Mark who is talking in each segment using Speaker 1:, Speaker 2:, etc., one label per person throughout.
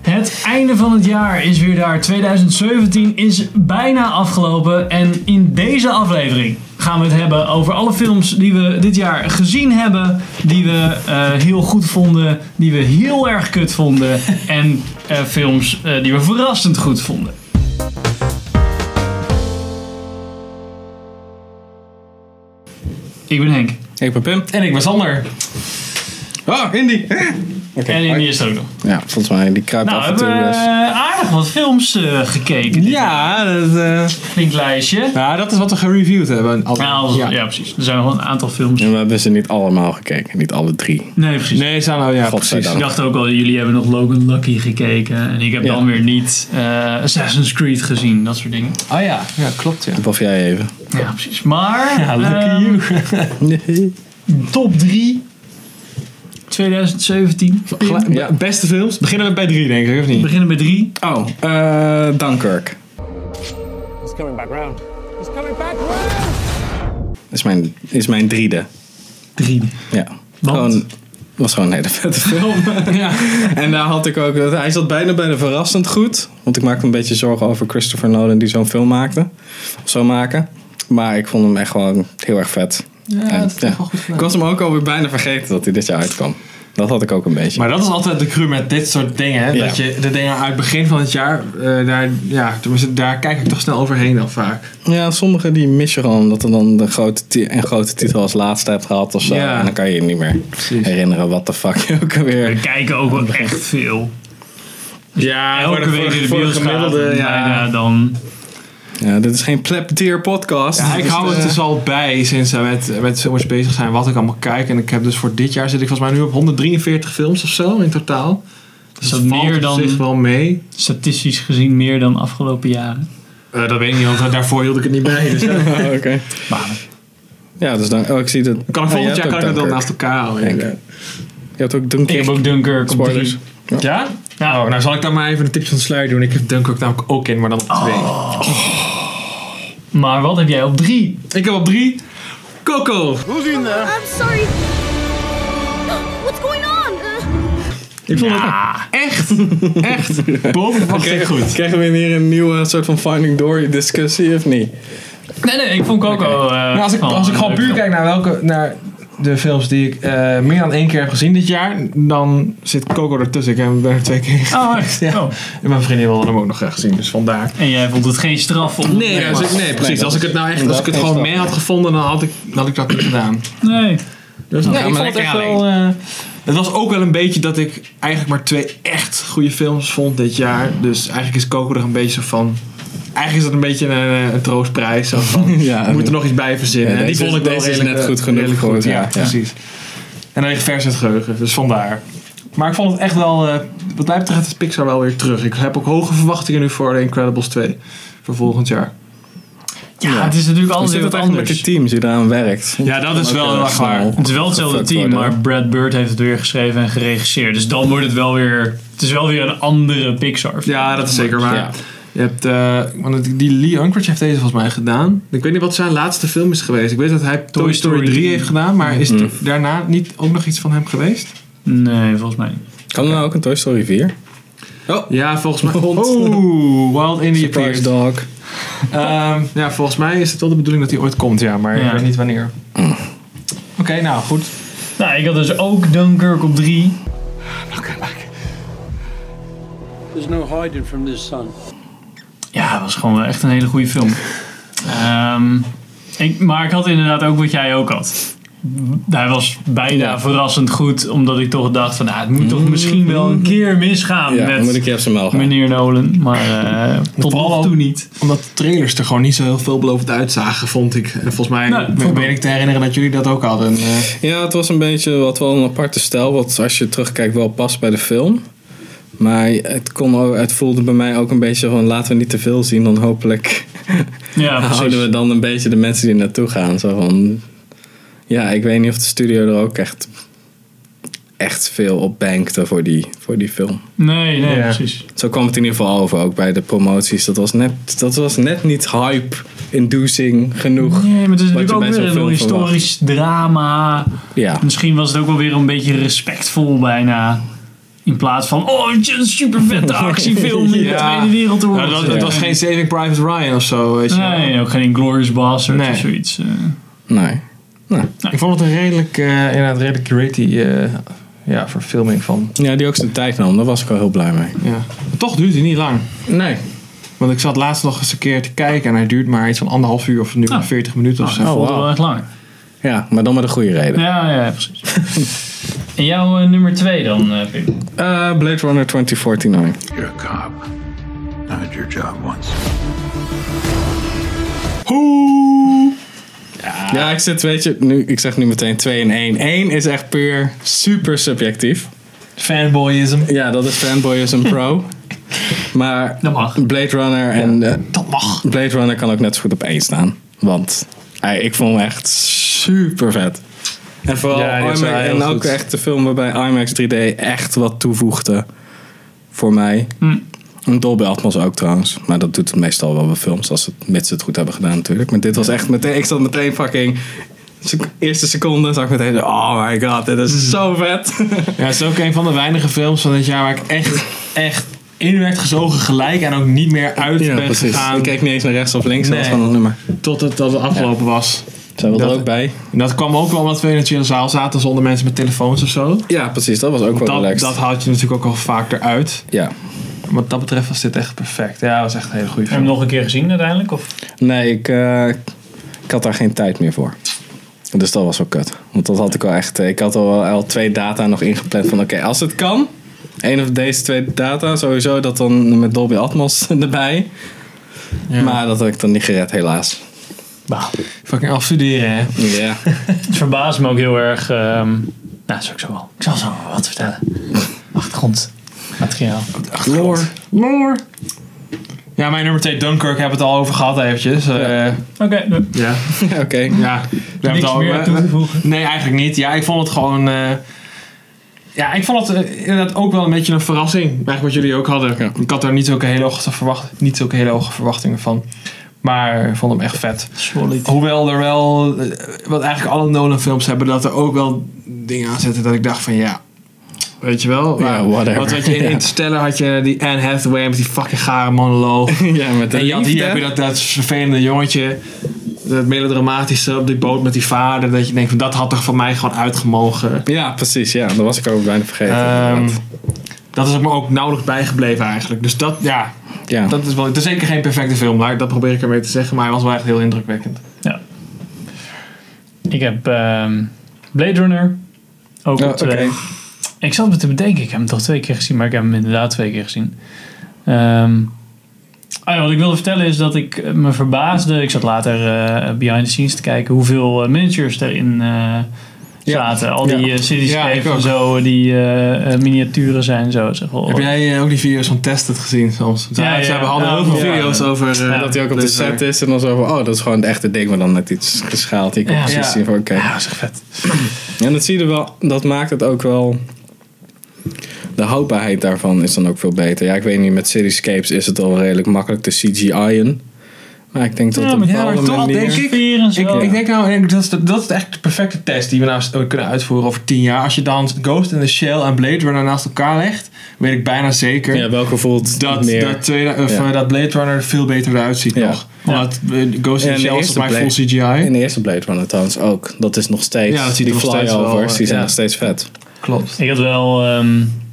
Speaker 1: Het einde van het jaar is weer daar. 2017 is bijna afgelopen. En in deze aflevering gaan we het hebben over alle films die we dit jaar gezien hebben. Die we eh, heel goed vonden. Die we heel erg kut vonden. En eh, films eh, die we verrassend goed vonden. Ik ben Henk.
Speaker 2: Ik ben Pim.
Speaker 3: En ik ben Sander.
Speaker 2: Oh, Indy. Eh. Oké.
Speaker 1: En Indy is er ook nog.
Speaker 2: Ja, volgens mij, die kruipt
Speaker 1: Nou,
Speaker 2: af en
Speaker 1: hebben
Speaker 2: toe.
Speaker 1: we
Speaker 2: dus.
Speaker 1: eh, aardig wat films eh, gekeken.
Speaker 2: Ja, dat, eh,
Speaker 1: Linklijstje.
Speaker 2: nou, dat is wat we gereviewd hebben. Al-
Speaker 1: Nou, ja. precies. Er zijn nog wel een aantal films.
Speaker 4: Ja, we hebben ze niet allemaal gekeken, niet alle drie.
Speaker 1: Nee, precies. Dus
Speaker 2: Nee, zijn nou, ja,
Speaker 4: Godzijdank.
Speaker 1: Ik
Speaker 2: precies.
Speaker 1: dacht ook al, jullie hebben nog Logan Lucky gekeken. En ik heb
Speaker 4: Ja.
Speaker 1: dan weer niet eh, Assassin's Creed gezien, dat soort dingen.
Speaker 3: Oh ja.
Speaker 2: Ja, klopt, ja.
Speaker 4: Of jij even.
Speaker 1: Ja, precies. Maar,
Speaker 3: Ja, lucky
Speaker 1: ehm,
Speaker 3: you.
Speaker 1: top 3 2017.
Speaker 2: Gelijk-
Speaker 4: Ja.
Speaker 2: Beste films. Beginnen we bij drie, denk ik, of
Speaker 1: We
Speaker 2: niet?
Speaker 1: beginnen bij 3.
Speaker 4: Oh, eh Dunkirk.
Speaker 5: It's coming back round. It's coming back round!
Speaker 4: Is mijn, is mijn driede.
Speaker 1: 3.
Speaker 4: Ja.
Speaker 1: Want?
Speaker 4: Gewoon, was gewoon een hele vette film. En daar had ik ook... Hij zat bijna bij de verrassend goed. Want ik maakte me een beetje zorgen over Christopher Nolan die zo'n film maakte. Of zou maken. Maar ik vond hem echt gewoon heel erg vet. En,
Speaker 2: dat is
Speaker 4: ja.
Speaker 2: toch wel goed gedaan.
Speaker 4: Ik was hem ook alweer bijna vergeten dat hij dit jaar uitkwam. Dat had ik ook een beetje.
Speaker 2: Maar dat is altijd de cru met dit soort dingen. Hè?
Speaker 4: Ja.
Speaker 2: Dat je de dingen uit het begin van het jaar, eh, daar, ja, tenminste, daar kijk ik toch snel overheen eh, dan vaak.
Speaker 4: Ja, sommige die mis je gewoon omdat er dan de grote ti- een grote titel als laatste hebt gehad of zo.
Speaker 2: Ja.
Speaker 4: En dan kan je je niet meer herinneren wat de fuck je ook
Speaker 1: We
Speaker 4: alweer.
Speaker 1: kijken ook wel echt veel.
Speaker 2: Ja,
Speaker 1: Elke week in de bioscoop.
Speaker 2: gemiddelde.
Speaker 1: bijna
Speaker 2: Ja.
Speaker 1: Dan.
Speaker 4: Ja, dit is geen pleb deer podcast.
Speaker 2: Ja,
Speaker 4: Dit
Speaker 2: ik
Speaker 4: is,
Speaker 2: hou
Speaker 4: eh,
Speaker 2: het dus al bij sinds we met, eh, met films bezig zijn wat ik allemaal kijk. En ik heb dus voor dit jaar zit ik volgens mij nu op 143 films of zo in totaal. Dus
Speaker 1: Is dat
Speaker 2: dat valt
Speaker 1: meer
Speaker 2: op
Speaker 1: dan-
Speaker 2: zich wel mee.
Speaker 1: Statistisch gezien meer dan afgelopen jaren.
Speaker 2: Eh, dat weet ik niet, want eh, daarvoor hield ik het niet bij. Dus ja.
Speaker 4: eh, Oké. Ja, dus dan. Oh, ik zie dat.
Speaker 2: kan ik
Speaker 4: Oh, je
Speaker 2: volgend
Speaker 4: hebt
Speaker 2: jaar
Speaker 4: ook
Speaker 2: kan ik het wel
Speaker 4: Dunkirk.
Speaker 2: naast elkaar houden.
Speaker 4: Denk ik.
Speaker 2: inderdaad.
Speaker 4: Je hebt ook
Speaker 1: Ik
Speaker 4: Dunkirk.
Speaker 1: heb ook Dunkirk op
Speaker 4: Spoilers.
Speaker 1: 3.
Speaker 2: Ja?
Speaker 1: Ja.
Speaker 2: Oh, nou zal ik daar maar even een tipje van de sluier doen. Ik heb Dunkirk namelijk ook in, maar dan op twee.
Speaker 1: Maar wat heb jij op 3?
Speaker 2: Ik heb op drie Coco.
Speaker 6: I'm sorry. What's going on? Uh,
Speaker 2: Ik vond
Speaker 1: Ah,
Speaker 2: het echt, echt boven verwachting goed.
Speaker 4: Krijgen we hier een nieuwe soort van Finding Dory discussie of niet?
Speaker 1: nee, nee, ik vond Coco. eh
Speaker 2: Nou, als ik,
Speaker 1: wel
Speaker 2: als ik
Speaker 1: een
Speaker 2: gewoon
Speaker 1: leuke
Speaker 2: puur
Speaker 1: film.
Speaker 2: kijk naar, welke, naar de films die ik eh, meer dan één keer heb gezien dit jaar, dan zit Coco ertussen. Ik heb hem er twee keer.
Speaker 1: Oh, echt?
Speaker 2: Ja.
Speaker 1: Oh.
Speaker 2: En mijn vriendin wilde hem ook nog graag zien, dus vandaar.
Speaker 1: En jij vond het geen straf om.
Speaker 2: Nee, als ik, nee precies.
Speaker 4: dat
Speaker 2: als ik het nou echt,
Speaker 4: is-
Speaker 2: als ik het
Speaker 4: dat
Speaker 2: gewoon
Speaker 4: is
Speaker 2: mee had gevonden, dan had ik, dan had ik dat niet gedaan.
Speaker 1: Nee.
Speaker 2: Dus nee,
Speaker 4: gaan
Speaker 2: ik
Speaker 4: we
Speaker 2: vond het
Speaker 4: lekker
Speaker 2: echt
Speaker 4: aan
Speaker 2: wel. eh, het was ook wel een beetje dat ik eigenlijk maar twee echt goede films vond dit jaar. Dus eigenlijk is Coco er een beetje zo van. Eigenlijk is dat een beetje een, eh, een troostprijs. Zo van,
Speaker 4: Ja,
Speaker 2: we moeten nog iets bij verzinnen.
Speaker 4: Ja,
Speaker 2: En die
Speaker 4: deze
Speaker 2: vond ik
Speaker 4: is-
Speaker 2: wel
Speaker 4: deze is
Speaker 2: redelijk,
Speaker 4: net
Speaker 2: eh,
Speaker 4: goed genoeg
Speaker 2: redelijk
Speaker 4: voor het
Speaker 2: ja,
Speaker 4: jaar, ja.
Speaker 2: precies. En dan ligt vers het geheugen, dus vandaar. Maar ik vond het echt wel, eh, wat mij betreft, is Pixar wel weer terug. Ik heb ook hoge verwachtingen nu voor The Incredibles 2 voor volgend jaar.
Speaker 1: Ja, het is natuurlijk
Speaker 4: Hoe
Speaker 1: altijd
Speaker 4: zit
Speaker 1: weer
Speaker 4: het
Speaker 1: wat
Speaker 4: eigenlijk met
Speaker 1: anders.
Speaker 4: je team die eraan werkt?
Speaker 2: Ja, dat is wel heel erg waar.
Speaker 1: Het is wel hetzelfde
Speaker 4: Gefuckt
Speaker 1: team,
Speaker 4: worden,
Speaker 1: maar Brad Bird heeft het weer geschreven en geregisseerd. Dus dan wordt het wel weer. Het is wel weer een andere Pixar. film.
Speaker 2: Ja, dat is zeker waar.
Speaker 4: Ja.
Speaker 2: Je hebt, eh, want die Lee Unkrich heeft deze volgens mij gedaan. Ik weet niet wat zijn laatste film is geweest. Ik weet dat hij Toy, Story,
Speaker 1: Story
Speaker 2: 3
Speaker 1: 3.
Speaker 2: heeft gedaan, maar is er daarna niet ook nog iets van hem geweest?
Speaker 1: Nee, volgens mij. niet.
Speaker 4: Kan er nou ook een Toy Story 4?
Speaker 2: Ja, volgens mij.
Speaker 4: Hond.
Speaker 2: Oeh, Oh, Wild India
Speaker 4: Surprise
Speaker 2: Appears.
Speaker 4: Dog.
Speaker 2: Ehm, ja, volgens mij is het wel de bedoeling dat hij ooit komt, ja, maar
Speaker 1: Ja.
Speaker 2: ik weet niet wanneer. Oké, nou goed.
Speaker 1: Nou, ik had dus ook Dunkirk op 3.
Speaker 7: There's no hiding from this sun.
Speaker 1: Ja, dat was gewoon wel echt een hele goede film. Ehm, ik, maar ik had inderdaad ook wat jij ook had. Hij was bijna
Speaker 4: Ja.
Speaker 1: verrassend goed, omdat ik toch dacht van, nou, het moet toch misschien wel een keer misgaan
Speaker 4: Ja, dan moet ik
Speaker 1: met
Speaker 4: je op zijn mel gaan.
Speaker 1: meneer Nolan. Maar eh, tot
Speaker 2: Vooral
Speaker 1: nog
Speaker 2: ook-
Speaker 1: toe niet.
Speaker 2: Omdat de trailers er gewoon niet zo heel veelbelovend uitzagen, vond ik. En volgens mij
Speaker 1: Nee, vond ik
Speaker 2: meen ik te herinneren dat jullie dat ook hadden. eh.
Speaker 4: Ja, het was een beetje wat wel een aparte stijl, wat als je terugkijkt wel past bij de film. Maar het, kon ook, het voelde bij mij ook een beetje van laten we niet te veel zien, dan hopelijk
Speaker 1: Ja,
Speaker 4: houden we
Speaker 1: precies.
Speaker 4: dan een beetje de mensen die naartoe gaan. Zo van, ja, ik weet niet of de studio er ook echt, echt veel op bankte voor die, voor die film.
Speaker 1: Nee, nee,
Speaker 2: Ja.
Speaker 1: precies.
Speaker 4: Zo kwam het in ieder geval over, ook bij de promoties. Dat was net, dat was net niet hype-inducing genoeg.
Speaker 1: Nee, maar het is
Speaker 4: Wat
Speaker 1: natuurlijk
Speaker 4: je
Speaker 1: ook
Speaker 4: bij
Speaker 1: weer
Speaker 4: zo'n
Speaker 1: een
Speaker 4: film
Speaker 1: historisch drama.
Speaker 4: Ja,
Speaker 1: Misschien was het ook wel weer een beetje respectvol bijna. In plaats van, oh, het is een super vette actiefilm in de
Speaker 2: Ja.
Speaker 1: Tweede Wereldoorlog.
Speaker 2: Nou, dat, het was
Speaker 1: Ja.
Speaker 2: geen Saving Private Ryan of zo, weet je wel.
Speaker 1: Nee, ook geen Glorious Bastard
Speaker 2: Nee. Oh,
Speaker 1: of zoiets. eh.
Speaker 4: Nee.
Speaker 2: Ik vond het een redelijk, eh inderdaad, redelijk gritty eh ja, verfilming van.
Speaker 4: Ja, die ook zijn tijd nam. Daar was ik wel heel blij mee.
Speaker 2: Ja. Maar toch duurt hij niet lang.
Speaker 4: Nee.
Speaker 2: Want ik zat laatst nog eens een keer te kijken en hij duurt maar iets van anderhalf uur of nu maar
Speaker 1: Ah.
Speaker 2: 40 minuten of zo.
Speaker 1: ik vond het
Speaker 4: wauw.
Speaker 1: wel echt lang.
Speaker 4: Ja, maar dan met een goede reden.
Speaker 1: Ja, ja, precies. en jouw eh, nummer twee dan, eh Pim?
Speaker 4: Eh, Blade Runner 2049.
Speaker 3: You're a cop. I had your job once.
Speaker 4: Ja, ik zit, weet je, nu, ik zeg nu meteen 2 en 1. 1 is echt puur super subjectief.
Speaker 2: Fanboyism.
Speaker 4: Ja, dat is fanboyism pro. Maar
Speaker 1: Dat mag.
Speaker 4: Blade Runner en... dat mag. Blade Runner kan ook net zo goed op één staan. Want ey, ik vond hem echt super vet. En vooral
Speaker 2: Ja, die is
Speaker 4: IMAX,
Speaker 2: wel heel
Speaker 4: en ook
Speaker 2: goed.
Speaker 4: echt de film waarbij IMAX 3D echt wat toevoegde voor mij.
Speaker 2: Hmm.
Speaker 4: En Dolby Atmos ook trouwens. Maar dat doet het meestal wel bij films, als het, mits ze het goed hebben gedaan natuurlijk. Maar dit was echt meteen, ik zat meteen fucking... sec- Eerste seconde zag ik meteen, oh my god, dit
Speaker 2: Hmm.
Speaker 4: is zo vet.
Speaker 2: Ja, het is ook een van de weinige films van dit jaar waar ik echt, echt in werd gezogen gelijk en ook niet meer uit ben gegaan
Speaker 4: Ik keek niet eens naar rechts of links, dat was
Speaker 2: Nee.
Speaker 4: gewoon een nummer.
Speaker 2: tot het, tot het afgelopen was.
Speaker 4: Zij wilde
Speaker 2: Dat-
Speaker 4: er ook bij.
Speaker 2: En dat kwam ook wel omdat we in een chille zaal zaten zonder mensen met telefoons of zo.
Speaker 4: Ja, precies. Dat was ook wel
Speaker 2: Dat,
Speaker 4: relaxed.
Speaker 2: dat haalt je natuurlijk ook al vaak eruit.
Speaker 4: Ja.
Speaker 2: Wat dat betreft was dit echt perfect. Ja, het was echt een hele goede
Speaker 1: Heb je
Speaker 2: film.
Speaker 1: hem nog een keer gezien uiteindelijk? Of?
Speaker 4: Nee, ik, eh, ik had daar geen tijd meer voor. Dus dat was wel kut. Want dat had ik wel echt... eh, Ik had al, wel- al twee data nog ingepland van... Oké, als het kan... één of deze twee data sowieso. Dat dan met Dolby Atmos erbij. Maar dat had ik dan niet gered, helaas.
Speaker 2: Nou. Fucking afstuderen, hè.
Speaker 4: Ja.
Speaker 1: Het verbaast me ook heel erg. ehm, nou, dat is ook zo wel. Ik zal zo wat vertellen. Achtergrondmateriaal.
Speaker 2: Lore. Lore. Ja, mijn nummer 2, Dunkirk, hebben we het al over gehad eventjes. Eh, ja.
Speaker 1: Oké, nou,
Speaker 2: ja.
Speaker 4: Oké.
Speaker 2: we hebben het
Speaker 1: niks
Speaker 2: al
Speaker 1: meer
Speaker 2: eh,
Speaker 1: toe te voegen.
Speaker 2: Nee, eigenlijk niet. Ja, ik vond het gewoon... eh, ja, ik vond het eh, inderdaad ook wel een beetje een verrassing. Eigenlijk wat jullie ook hadden.
Speaker 4: Ja.
Speaker 2: Ik had daar niet zulke, hele hoge verwacht, niet zulke hele hoge verwachtingen van. Maar ik vond hem echt vet.
Speaker 1: Solid.
Speaker 2: Hoewel er wel, eh, wat eigenlijk alle Nolan films hebben, dat er ook wel dingen aan zitten dat ik dacht van ja, weet je wel.
Speaker 4: Ja,
Speaker 2: Maar-
Speaker 4: whatever.
Speaker 2: Want had je in
Speaker 4: Ja.
Speaker 2: Interstellar had je die Anne Hathaway met die fucking gare monoloog.
Speaker 4: ja, met de
Speaker 2: en je had hier
Speaker 4: liefde.
Speaker 2: heb je dat, dat vervelende jongetje, dat melodramatische op die boot met die vader, dat je denkt van dat had toch van mij gewoon uitgemogen.
Speaker 4: Ja, precies. Ja, dat was ik ook bijna vergeten.
Speaker 2: Ehm
Speaker 4: inderdaad.
Speaker 2: dat is me ook nauwelijks bijgebleven eigenlijk. Dus dat, ja,
Speaker 4: ja.
Speaker 2: dat is wel. Het is zeker geen perfecte film, maar dat probeer ik ermee te zeggen. Maar hij was wel echt heel indrukwekkend.
Speaker 1: Ja. Ik heb ehm, Blade Runner. Ook
Speaker 4: Oh,
Speaker 1: op twee.
Speaker 4: oké.
Speaker 1: Ik zat me te bedenken. Ik heb hem toch twee keer gezien, maar ik heb hem inderdaad twee keer gezien. Ehm, ah ja, wat ik wilde vertellen is dat ik eh, me verbaasde. Ik zat later eh, behind the scenes te kijken hoeveel eh, miniatures erin eh, zaten. Al die
Speaker 4: Ja.
Speaker 1: eh,
Speaker 2: Ja,
Speaker 1: cityscapes
Speaker 2: ik ook.
Speaker 1: en zo, die eh, eh, miniaturen zijn zo. Zeg wel.
Speaker 2: Heb jij eh, ook die video's van Tested gezien soms? Ze,
Speaker 1: Ja, ja,
Speaker 2: ze hebben
Speaker 1: ja.
Speaker 2: hadden
Speaker 1: Ja,
Speaker 2: heel veel
Speaker 1: ja.
Speaker 2: video's over... eh,
Speaker 1: Ja.
Speaker 4: dat hij ook op de
Speaker 2: laser.
Speaker 4: set is en dan zo van, oh, dat is gewoon het echte ding, maar dan net iets geschaald. Ik kon
Speaker 1: Ja.
Speaker 4: precies
Speaker 2: Ja.
Speaker 4: zien van, oké.
Speaker 1: Ja, dat is echt vet.
Speaker 4: En dat zie je wel, dat maakt het ook wel. De houdbaarheid daarvan is dan ook veel beter. Ja, ik weet niet, met Cityscapes is het al redelijk makkelijk te CGI'en. Maar ik denk dat
Speaker 1: Ja,
Speaker 4: op een
Speaker 1: maar
Speaker 2: ja, maar
Speaker 4: bepaalde
Speaker 2: toch
Speaker 4: manier...
Speaker 2: denk ik-
Speaker 1: Sfeer en zo.
Speaker 2: Ik, ik denk nou, ik- dat is, de- dat is echt de perfecte test die we nou s- kunnen uitvoeren over tien jaar. Als je dan Ghost in the Shell en Blade Runner naast elkaar legt, weet ik bijna zeker
Speaker 4: Ja, welke voelt
Speaker 2: dat,
Speaker 4: meer...
Speaker 2: dat, tweede, of,
Speaker 4: Ja.
Speaker 2: eh, dat Blade Runner er veel beter eruit ziet
Speaker 4: Ja.
Speaker 2: nog. Omdat eh, Ghost in
Speaker 4: En
Speaker 2: the
Speaker 4: de
Speaker 2: Shell is
Speaker 4: eerste
Speaker 2: voor mij
Speaker 4: Blade-
Speaker 2: full CGI.
Speaker 4: In de eerste Blade Runner trouwens ook. Dat is nog steeds...
Speaker 2: Ja, dat ziet
Speaker 4: die
Speaker 2: er nog steeds wel,
Speaker 4: flyovers, die
Speaker 2: eh,
Speaker 4: zijn
Speaker 2: ja.
Speaker 4: nog steeds vet.
Speaker 2: Klopt.
Speaker 1: Ik had wel, ehm,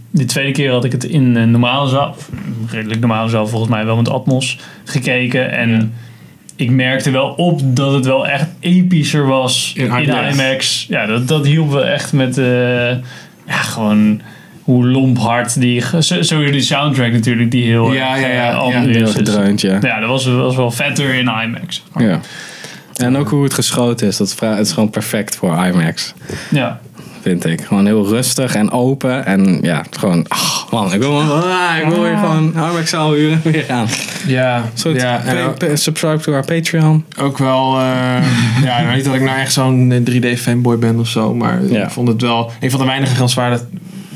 Speaker 1: de tweede keer had ik het in een normale zaal, of een redelijk normale zaal volgens mij, wel met Atmos gekeken. En ik merkte wel op dat het wel echt epischer was
Speaker 2: In
Speaker 1: in,
Speaker 2: IMAX.
Speaker 1: IMAX. Ja, dat, dat hielp wel echt met, eh, ja, gewoon hoe lomphard die, ge- zo- sowieso die soundtrack natuurlijk, die heel
Speaker 2: Ja,
Speaker 1: erg,
Speaker 2: ja, ja,
Speaker 1: eh,
Speaker 2: ja,
Speaker 1: amber
Speaker 4: Heel
Speaker 1: is. Dus,
Speaker 4: gedreund, ja.
Speaker 1: ja, dat was, was wel vetter in IMAX. zeg maar.
Speaker 4: ja. En ook hoe het geschoten is. Dat vra- het is gewoon perfect voor IMAX.
Speaker 1: Ja.
Speaker 4: vind ik. Gewoon heel rustig en open. En ja, gewoon, ach man, ik wil, ah, ik wil weer gewoon Harmexaal huren en weer gaan.
Speaker 2: Ja,
Speaker 4: Soort
Speaker 2: ja, en ook-
Speaker 4: pa- pa- subscribe to our Patreon.
Speaker 2: ook wel. eh, ja, nou, niet dat ik nou echt zo'n eh, 3D fanboy ben of zo, maar
Speaker 4: Ja.
Speaker 2: ik vond het wel. Een van de weinige films waar, dat,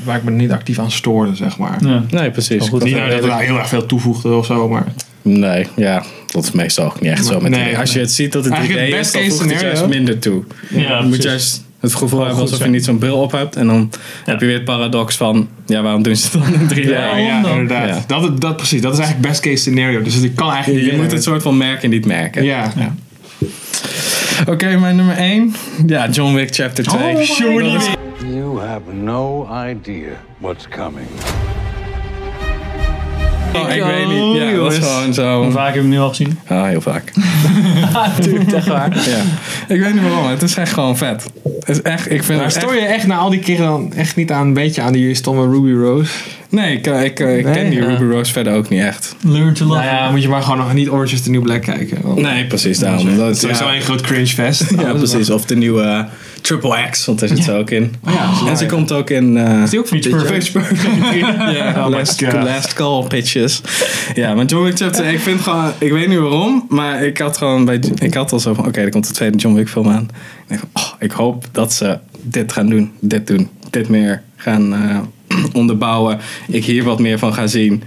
Speaker 2: waar ik me niet actief aan stoorde, zeg maar.
Speaker 1: ja.
Speaker 4: Nee, precies.
Speaker 2: Niet nou dat het
Speaker 4: Dat-
Speaker 2: nou heel erg veel toevoegde of zo, maar.
Speaker 4: Nee, ja, dat is meestal ook niet echt zo met
Speaker 2: Nee,
Speaker 4: die- Als je het ziet dat het
Speaker 2: Eigenlijk
Speaker 4: idee
Speaker 2: het
Speaker 4: is,
Speaker 2: best
Speaker 4: dan
Speaker 2: case
Speaker 4: voegt het juist
Speaker 2: scenario.
Speaker 4: minder toe.
Speaker 1: Ja,
Speaker 4: Je moet
Speaker 1: precies.
Speaker 4: juist het gevoel hebben
Speaker 1: goed
Speaker 4: alsof je
Speaker 1: zijn.
Speaker 4: niet zo'n bril op hebt. En dan heb je weer het paradox van, ja, waarom doen ze het dan in 3D?
Speaker 2: Ja, ja,
Speaker 1: honderd.
Speaker 2: inderdaad.
Speaker 4: Ja.
Speaker 2: Dat, dat precies. Dat is eigenlijk best case scenario. Dus ik kan eigenlijk
Speaker 4: Je
Speaker 2: niet
Speaker 4: moet
Speaker 2: winnen.
Speaker 4: het soort van merken en niet merken.
Speaker 2: Ja. ja.
Speaker 4: Oké, mijn nummer 1. Ja, John Wick Chapter
Speaker 2: Oh
Speaker 4: 2.
Speaker 2: Sure.
Speaker 3: You have no idea what's coming.
Speaker 4: Oh, ik weet niet. Ja, dat is
Speaker 2: jongens.
Speaker 4: gewoon zo.
Speaker 1: Vaak heb ik hem nu al gezien.
Speaker 4: Ah, heel vaak. Natuurlijk, echt waar. Ja. Ik weet niet waarom, het is echt gewoon vet. Het is echt, ik vind
Speaker 2: Maar
Speaker 4: het echt-
Speaker 2: stoor je echt na al die keren dan echt niet aan een beetje aan die stomme Ruby Rose?
Speaker 4: Nee, ik, eh, ik, ik ken
Speaker 2: Nee,
Speaker 4: die
Speaker 2: ja.
Speaker 4: Ruby Rose verder ook niet echt.
Speaker 1: Learn to love.
Speaker 2: Nou ja, moet je maar gewoon nog niet Orange is the New Black kijken. Want
Speaker 4: Nee, precies daarom. Dat is
Speaker 2: Het is
Speaker 4: ja,
Speaker 2: sowieso een groot cringe fest.
Speaker 4: ja, precies. Of de nieuwe eh, Triple X, want daar zit ze ook in.
Speaker 2: ja.
Speaker 4: en ze komt ook in... eh,
Speaker 2: Die ook van
Speaker 1: Pitch
Speaker 2: dit jaar.
Speaker 1: Perfect.
Speaker 4: Ja,
Speaker 2: Oh my
Speaker 4: last,
Speaker 2: God.
Speaker 4: last call pitches. Ja, maar John Wick chapter, ik vind gewoon, ik weet niet waarom, maar ik had gewoon bij, ik had al zo van, oké, er komt de tweede John Wick film aan. Ik denk, van, oh, ik hoop dat ze dit gaan doen, dit doen, dit meer gaan eh, onderbouwen. Ik hier wat meer van ga zien.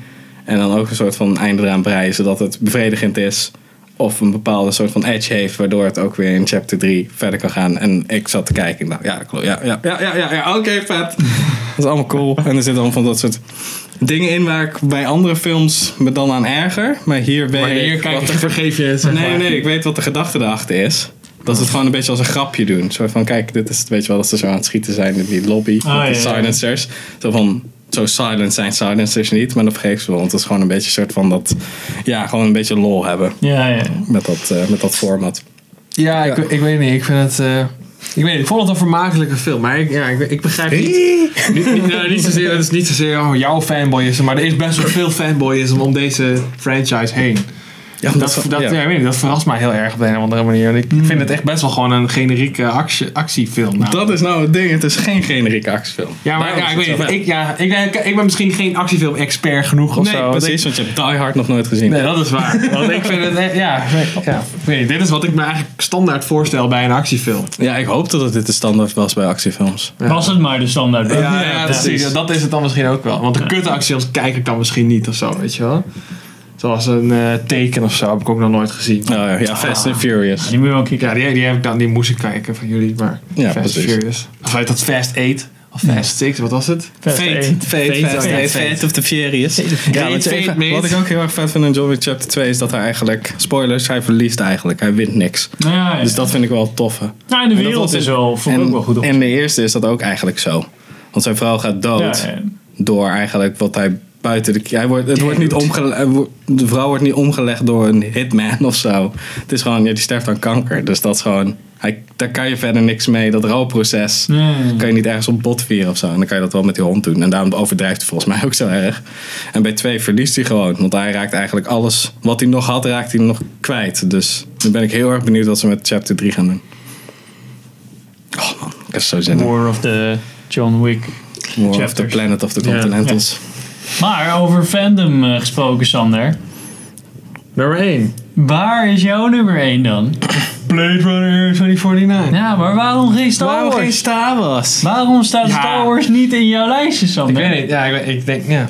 Speaker 4: En dan ook een soort van einde eraan breien, zodat het bevredigend is. Of een bepaalde soort van edge heeft, waardoor het ook weer in chapter 3 verder kan gaan. En ik zat te kijken, ik dacht, ja, dat klopt, ja, ja, ja, ja, ja, ja oké, vet. Dat is allemaal cool. En er zitten allemaal van dat soort dingen in waar ik bij andere films me dan aan erger. Maar hier weet
Speaker 2: Maar hier
Speaker 4: ik
Speaker 2: kijk
Speaker 4: wat
Speaker 2: ik
Speaker 4: er
Speaker 2: vergeef je het. zeg
Speaker 4: Nee,
Speaker 2: maar.
Speaker 4: nee, ik weet wat de gedachte erachter is. Dat ze het gewoon een beetje als een grapje doen. Zo van, kijk, dit is, weet je wel, dat ze zo aan het schieten zijn in die lobby.
Speaker 1: Ah,
Speaker 4: met de
Speaker 1: ja, ja.
Speaker 4: silencers. Zo van, zo silent zijn silencers niet, maar dat vergeef ze wel. Want het is gewoon een beetje een soort van dat, ja, gewoon een beetje lol hebben
Speaker 1: Ja, ja.
Speaker 4: met dat, eh, met dat format.
Speaker 2: Ja, ik, ik weet niet. Ik vind het. eh, ik weet niet, ik vond het een vermakelijke film, maar ik, ja, ik, ik begrijp niet. niet, niet, nou, niet zozeer, het is niet zozeer oh, jouw fanboyisme, maar er is best wel veel fanboyisme om deze franchise heen.
Speaker 4: Ja, Hmm.
Speaker 2: Dat, dat, ja. ik weet niet, dat verrast mij heel erg op de een of andere manier. want Ik vind het echt best wel gewoon een generieke actie, actiefilm. namelijk.
Speaker 4: dat is nou het ding, het is geen generieke actiefilm.
Speaker 2: ja, maar
Speaker 4: Daarom
Speaker 2: ja,
Speaker 4: is
Speaker 2: ik
Speaker 4: het
Speaker 2: weet
Speaker 4: zo.
Speaker 2: niet. Ik, ja, ik, ik, ik ben misschien geen actiefilm-expert genoeg of
Speaker 4: Nee,
Speaker 2: zo. want ik-
Speaker 4: precies, want je hebt Die Hard nog nooit gezien.
Speaker 2: Nee, dat is waar. Want ik vind het, eh, ja, ik- ja. Ik weet niet, dit is wat ik me eigenlijk standaard voorstel bij een actiefilm.
Speaker 4: Ja, ik hoop dat het dit de standaard was bij actiefilms.
Speaker 1: Was het maar de standaard.
Speaker 2: Ja, ja, precies. Ja, dat is het dan misschien ook wel. Want de kutacties kijk ik dan misschien niet of zo, weet je wel. Zoals een eh, teken of zo heb ik ook nog nooit gezien.
Speaker 4: Oh ja, ja, Fast and Furious.
Speaker 1: Die moet je wel kijken.
Speaker 2: Ja, die, die, heb ik dan, die moest ik kijken van jullie, maar
Speaker 4: Ja,
Speaker 2: Fast
Speaker 4: precies.
Speaker 2: Furious. Of heet dat Fast 8? Of Fast 6, wat was het?
Speaker 1: Fast Eight.
Speaker 4: Fate,
Speaker 1: Fate, Fate, Fate.
Speaker 4: of the Furious. Ja, wat,
Speaker 2: Fate,
Speaker 4: even-
Speaker 2: mate.
Speaker 4: wat ik ook heel erg vet vind in John Wick Chapter 2 is dat hij eigenlijk... Spoilers, hij verliest eigenlijk. Hij wint niks.
Speaker 1: Nou ja, ja.
Speaker 4: Dus dat vind ik wel tof.
Speaker 1: Nou, en de
Speaker 4: En dat
Speaker 1: wereld
Speaker 4: was
Speaker 1: is
Speaker 4: in-
Speaker 1: wel, vond ik ook
Speaker 4: En,
Speaker 1: wel goed op.
Speaker 4: en de eerste is dat ook eigenlijk zo. Want zijn vrouw gaat dood
Speaker 1: Ja, ja.
Speaker 4: door eigenlijk wat hij buiten de... Hij wordt, het wordt niet omgele, hij wordt- de vrouw wordt niet omgelegd door een hitman of zo. Het is gewoon, ja, die sterft aan kanker. Dus dat is gewoon... Hij, daar kan je verder niks mee. Dat rouwproces
Speaker 1: Nee.
Speaker 4: kan je niet ergens op bot vieren of zo. En dan kan je dat wel met die hond doen. En daarom overdrijft hij volgens mij ook zo erg. En bij twee verliest hij gewoon. Want hij raakt eigenlijk alles wat hij nog had, raakt hij nog kwijt. Dus nu ben ik heel erg benieuwd wat ze met chapter 3 gaan doen. Oh man, ik heb zo zin in.
Speaker 1: War of the John Wick.
Speaker 4: War of the
Speaker 1: chapters.
Speaker 4: Planet of the Continentals.
Speaker 1: Maar over fandom eh, gesproken, Sander.
Speaker 2: Nummer 1.
Speaker 1: Waar is jouw nummer 1 dan?
Speaker 2: Blade Runner 2049.
Speaker 1: Ja, maar waarom geen Star Wars?
Speaker 2: Waarom geen Star Wars?
Speaker 1: Waarom staat
Speaker 2: Ja.
Speaker 1: Star Wars niet in jouw lijstje,
Speaker 2: Ik
Speaker 1: Sander?
Speaker 2: weet niet, ja, ik, weet- ik denk, ja.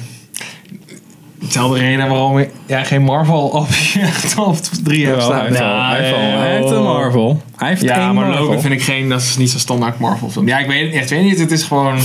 Speaker 2: Hetzelfde reden waarom ik ja, geen Marvel op je top 3 heb
Speaker 4: Jawel,
Speaker 2: staan.
Speaker 4: hij heeft al-
Speaker 1: Nou,
Speaker 4: hij heeft al- hij heeft
Speaker 1: joh.
Speaker 4: een Marvel. Hij heeft
Speaker 2: Ja, maar
Speaker 4: één Marvel.
Speaker 2: Logan vind ik geen, dat is niet zo'n standaard Marvel film. Ja, ik weet, ja, ik weet niet, het is gewoon...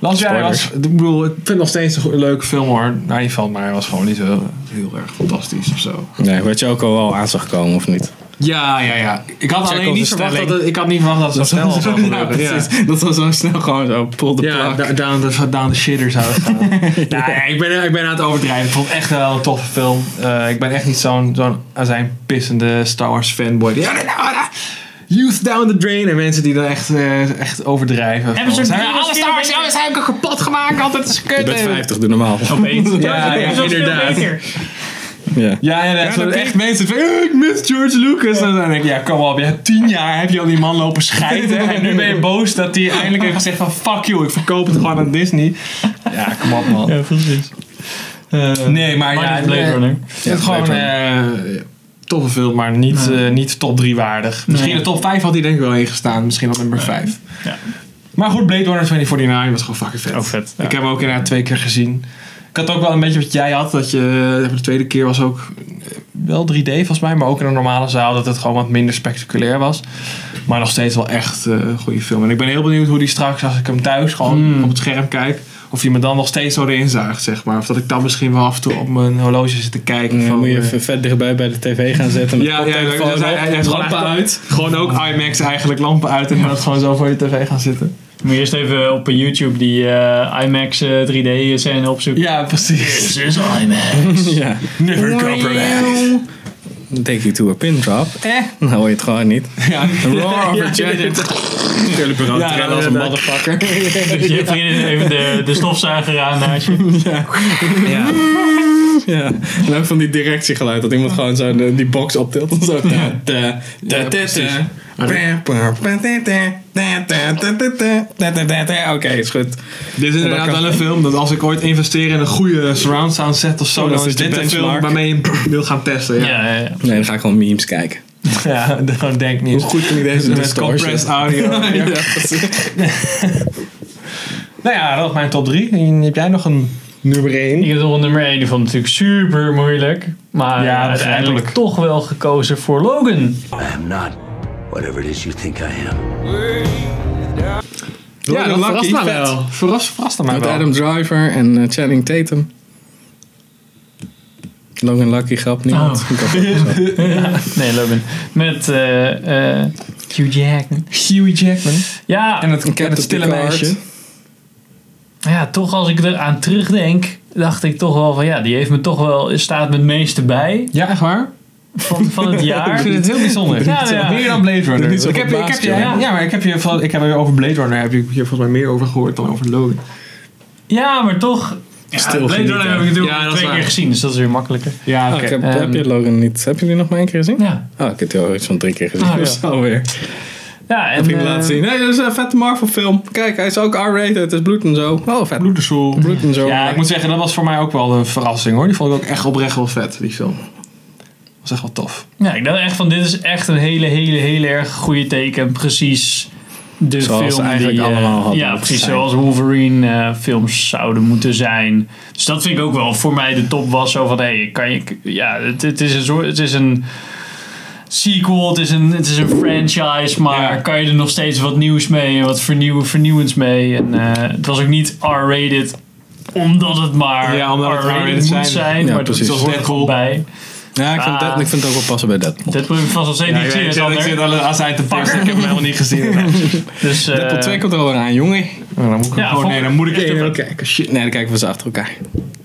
Speaker 2: Last Jedi was, ik bedoel, ik vind het nog steeds een goe- leuke film hoor. Nou, die valt maar, hij was gewoon niet zo heel erg fantastisch of zo.
Speaker 4: Nee, werd je ook al wel aan zag komen of niet?
Speaker 2: Ja, ja, ja. Ik had
Speaker 4: Check
Speaker 2: alleen
Speaker 4: onze
Speaker 2: niet verwacht dat
Speaker 4: stelling.
Speaker 2: het, ik had niet verwacht dat het zo snel zou gebeuren. Ja,
Speaker 4: Dat was zo snel gewoon zo, pull the
Speaker 2: Ja,
Speaker 4: plug.
Speaker 2: da- down the, down the shitter zou het gaan. Nou, ja, ik, ben, ik ben aan het overdrijven. Ik vond het echt wel een toffe film. Eh, ik ben echt niet zo'n zo'n azijnpissende Star Wars fanboy. Ja, ja, ja, ja. Youth down the drain en mensen die dan echt, eh, echt overdrijven.
Speaker 1: Hebben ze
Speaker 2: Van,
Speaker 1: een
Speaker 2: zijn
Speaker 1: keer
Speaker 2: alle
Speaker 1: een
Speaker 2: Star Wars
Speaker 1: keer-
Speaker 2: films heb ik al kapot gemaakt, altijd is kut. eh.
Speaker 4: Je bent
Speaker 2: En-
Speaker 4: 50, doe normaal.
Speaker 1: Opeens.
Speaker 2: Ja,
Speaker 1: dat
Speaker 2: ja,
Speaker 1: is al veel
Speaker 2: inderdaad.
Speaker 1: beter.
Speaker 4: Ja.
Speaker 2: Ja, ja, ja, zo
Speaker 4: dat
Speaker 2: echt mensen van, "Eh, ik mis George Lucas. En dan denk ik, ja, kom op, ja, tien jaar heb je al die man lopen scheiden. en nu ben je boos dat hij eindelijk heeft gezegd van, fuck you, ik verkoop het gewoon aan Disney. Ja, kom op man. Eh,
Speaker 1: Ja, precies.
Speaker 2: Nee, maar
Speaker 1: Maar
Speaker 2: ja,
Speaker 1: dit is Blade
Speaker 2: nee.
Speaker 1: Runner.
Speaker 2: Het is gewoon eh toffe film, maar niet, eh, niet top 3 waardig. Misschien de top 5 had hij denk ik wel ingestaan. Misschien wel nummer 5.
Speaker 1: Ja.
Speaker 2: Maar goed, Blade Runner 2049 was gewoon fucking vet.
Speaker 1: Ook vet, ja.
Speaker 2: Ik heb hem ook inderdaad twee keer gezien. Ik had ook wel een beetje wat jij had. Dat je eh, de tweede keer was ook eh, wel 3D volgens mij, maar ook in een normale zaal dat het gewoon wat minder spectaculair was. Maar nog steeds wel echt eh, een goede film. En ik ben heel benieuwd hoe die straks, als ik hem thuis
Speaker 4: Hmm.
Speaker 2: gewoon op het scherm kijk, of je me dan nog steeds zo erin zuigt, zeg maar. Of dat ik dan misschien wel af en toe op mijn horloge zit te kijken.
Speaker 4: Dan
Speaker 2: van,
Speaker 4: moet je
Speaker 2: eh,
Speaker 4: even vet dichtbij bij de tv gaan zetten. Met
Speaker 2: ja, ja, ja,
Speaker 4: koptelefoon
Speaker 2: dus hij,
Speaker 4: op,
Speaker 2: hij heeft gewoon,
Speaker 4: lampen
Speaker 2: eigenlijk-
Speaker 4: uit.
Speaker 2: gewoon ook IMAX eigenlijk lampen uit en dat gewoon zo voor je tv gaan zitten.
Speaker 1: Moet je eerst even op YouTube die eh, IMAX eh, 3D scène opzoeken.
Speaker 2: Ja, precies.
Speaker 1: This is IMAX.
Speaker 4: Ja.
Speaker 2: Never compromise.
Speaker 4: Take you to a pin drop. Eh? Dan hoor je het gewoon niet.
Speaker 2: Ja,
Speaker 4: The roar of a giant. Jullie bureau
Speaker 2: Ja,
Speaker 4: trillen als een
Speaker 2: dat-
Speaker 4: motherfucker.
Speaker 1: Dus je vriendin even de, de stofzuiger aan naast je.
Speaker 4: Ja. ja. En ook van die directiegeluid. Dat iemand gewoon zo de- die box optilt. En zo. Ja.
Speaker 2: Ja, precies.
Speaker 4: Oké, is goed.
Speaker 2: Dit is inderdaad
Speaker 4: En dan kan-
Speaker 2: wel een film dat als ik ooit investeer in een goede surround sound set of zo,
Speaker 4: Oh, dat
Speaker 2: dan is
Speaker 4: is de
Speaker 2: dit een film
Speaker 4: benchmark.
Speaker 2: waarmee je hem wil gaan testen. Ja,
Speaker 1: Ja, ja, ja.
Speaker 4: Nee, dan ga ik gewoon memes kijken.
Speaker 2: ja. gewoon denk niet.
Speaker 4: Hoe goed kan ik deze
Speaker 2: Met compressed audio.
Speaker 4: Ja,
Speaker 2: Ja.
Speaker 4: precies.
Speaker 2: Nou ja, dat was mijn top 3. Heb jij nog een nummer 1?
Speaker 1: Ik heb nog nummer 1, die vond het natuurlijk super moeilijk. Maar
Speaker 2: Ja,
Speaker 1: uiteindelijk
Speaker 2: begrijpelijk.
Speaker 1: toch wel gekozen voor Logan.
Speaker 3: I am not whatever it is you think I am.
Speaker 2: Ja, dat
Speaker 4: verrast
Speaker 2: verrast
Speaker 4: mij
Speaker 2: mij
Speaker 4: wel.
Speaker 2: wel. Verrast, verrast mij
Speaker 4: Met
Speaker 2: wel.
Speaker 4: Adam Driver en eh, Channing Tatum. Logan Lucky grap niemand.
Speaker 1: Oh.
Speaker 4: Ik had het ook zo.
Speaker 1: Nee, Logan. Met eh, eh, Hugh Jackman.
Speaker 2: Hugh Jackman.
Speaker 1: Ja,
Speaker 2: En het,
Speaker 4: Ik heb
Speaker 2: en het stille meisje.
Speaker 1: ja, toch als ik eraan terugdenk, dacht ik toch wel van ja, die heeft me toch wel, staat me het meeste bij
Speaker 2: Ja, echt waar?
Speaker 1: van, van het
Speaker 2: Ik
Speaker 1: jaar.
Speaker 2: vind het heel bijzonder.
Speaker 1: Ja, ja.
Speaker 2: Meer dan Blade Runner.
Speaker 4: niet zo
Speaker 2: Ik heb, ik heb,
Speaker 4: verbaasd,
Speaker 2: ja,
Speaker 1: joh.
Speaker 2: ja, maar ik heb je van- ik heb hier over Blade Runner heb ik hier volgens mij meer over gehoord dan over Logan.
Speaker 1: Ja, maar toch. Ja,
Speaker 4: Stil
Speaker 1: Blade
Speaker 4: genieten.
Speaker 1: Runner heb ik natuurlijk
Speaker 2: Ja, dat is
Speaker 1: twee
Speaker 2: waar.
Speaker 1: keer gezien, dus dat is weer makkelijker.
Speaker 2: Ja,
Speaker 4: Oh, ik heb,
Speaker 1: Ehm.
Speaker 4: heb je Logan niet? Heb je die nog maar één keer gezien?
Speaker 1: Ja,
Speaker 4: Oh, ik heb die al iets van drie keer gezien.
Speaker 1: Ah, ja.
Speaker 4: of zo weer.
Speaker 1: ja en
Speaker 4: Heb ik
Speaker 1: eh,
Speaker 4: laten zien. Nee, dat is een vette Marvel film. Kijk, hij is ook R-rated. Het is bloed en zo. Oh, vet.
Speaker 2: Bloed de Soul.
Speaker 4: Bloed en zo.
Speaker 2: Ja, ik moet zeggen, dat was voor mij ook wel een verrassing hoor. Die vond ik ook echt oprecht wel vet, die film. Was echt wel tof.
Speaker 1: Ja, ik dacht echt van dit is echt een hele, hele, hele erg goede teken. Precies de
Speaker 4: Zoals
Speaker 1: film
Speaker 4: eigenlijk
Speaker 1: die, eh,
Speaker 4: allemaal hadden
Speaker 1: Ja,
Speaker 4: moeten
Speaker 1: precies
Speaker 4: zijn.
Speaker 1: zoals Wolverine eh, films zouden moeten zijn. Dus dat vind ik ook wel voor mij de top was. Zo van, hé, kan je... Ja, het, het is een soort... Het is een sequel, het is een, het is een franchise, maar
Speaker 2: Ja.
Speaker 1: kan je er nog steeds wat nieuws mee en wat vernieuwen, vernieuwends mee. En eh, het was ook niet R-rated omdat het maar
Speaker 2: Ja, omdat het
Speaker 1: R-rated
Speaker 2: R-rated
Speaker 1: moet
Speaker 2: zijn.
Speaker 1: zijn,
Speaker 4: Ja,
Speaker 1: maar
Speaker 4: precies.
Speaker 1: dat hoort er gewoon bij.
Speaker 4: Ja, ik vind,
Speaker 1: Ah.
Speaker 4: dat, ik vind het ook wel passen bij Deadpool.
Speaker 1: Deadpool heb ik vast al steeds niet gezien. Sander.
Speaker 2: als hij te pakken. Ik heb hem helemaal niet gezien.
Speaker 1: Dus, eh,
Speaker 4: Deadpool 2 komt er gewoon aan, jongen.
Speaker 2: dan moet ik
Speaker 1: Ja,
Speaker 2: hem gewoon,
Speaker 1: vond-
Speaker 2: Oh, nee, dan moet ik
Speaker 1: echt
Speaker 2: één
Speaker 1: een-
Speaker 2: wel kijken. Shit.
Speaker 4: Nee, dan kijken we ze achter elkaar.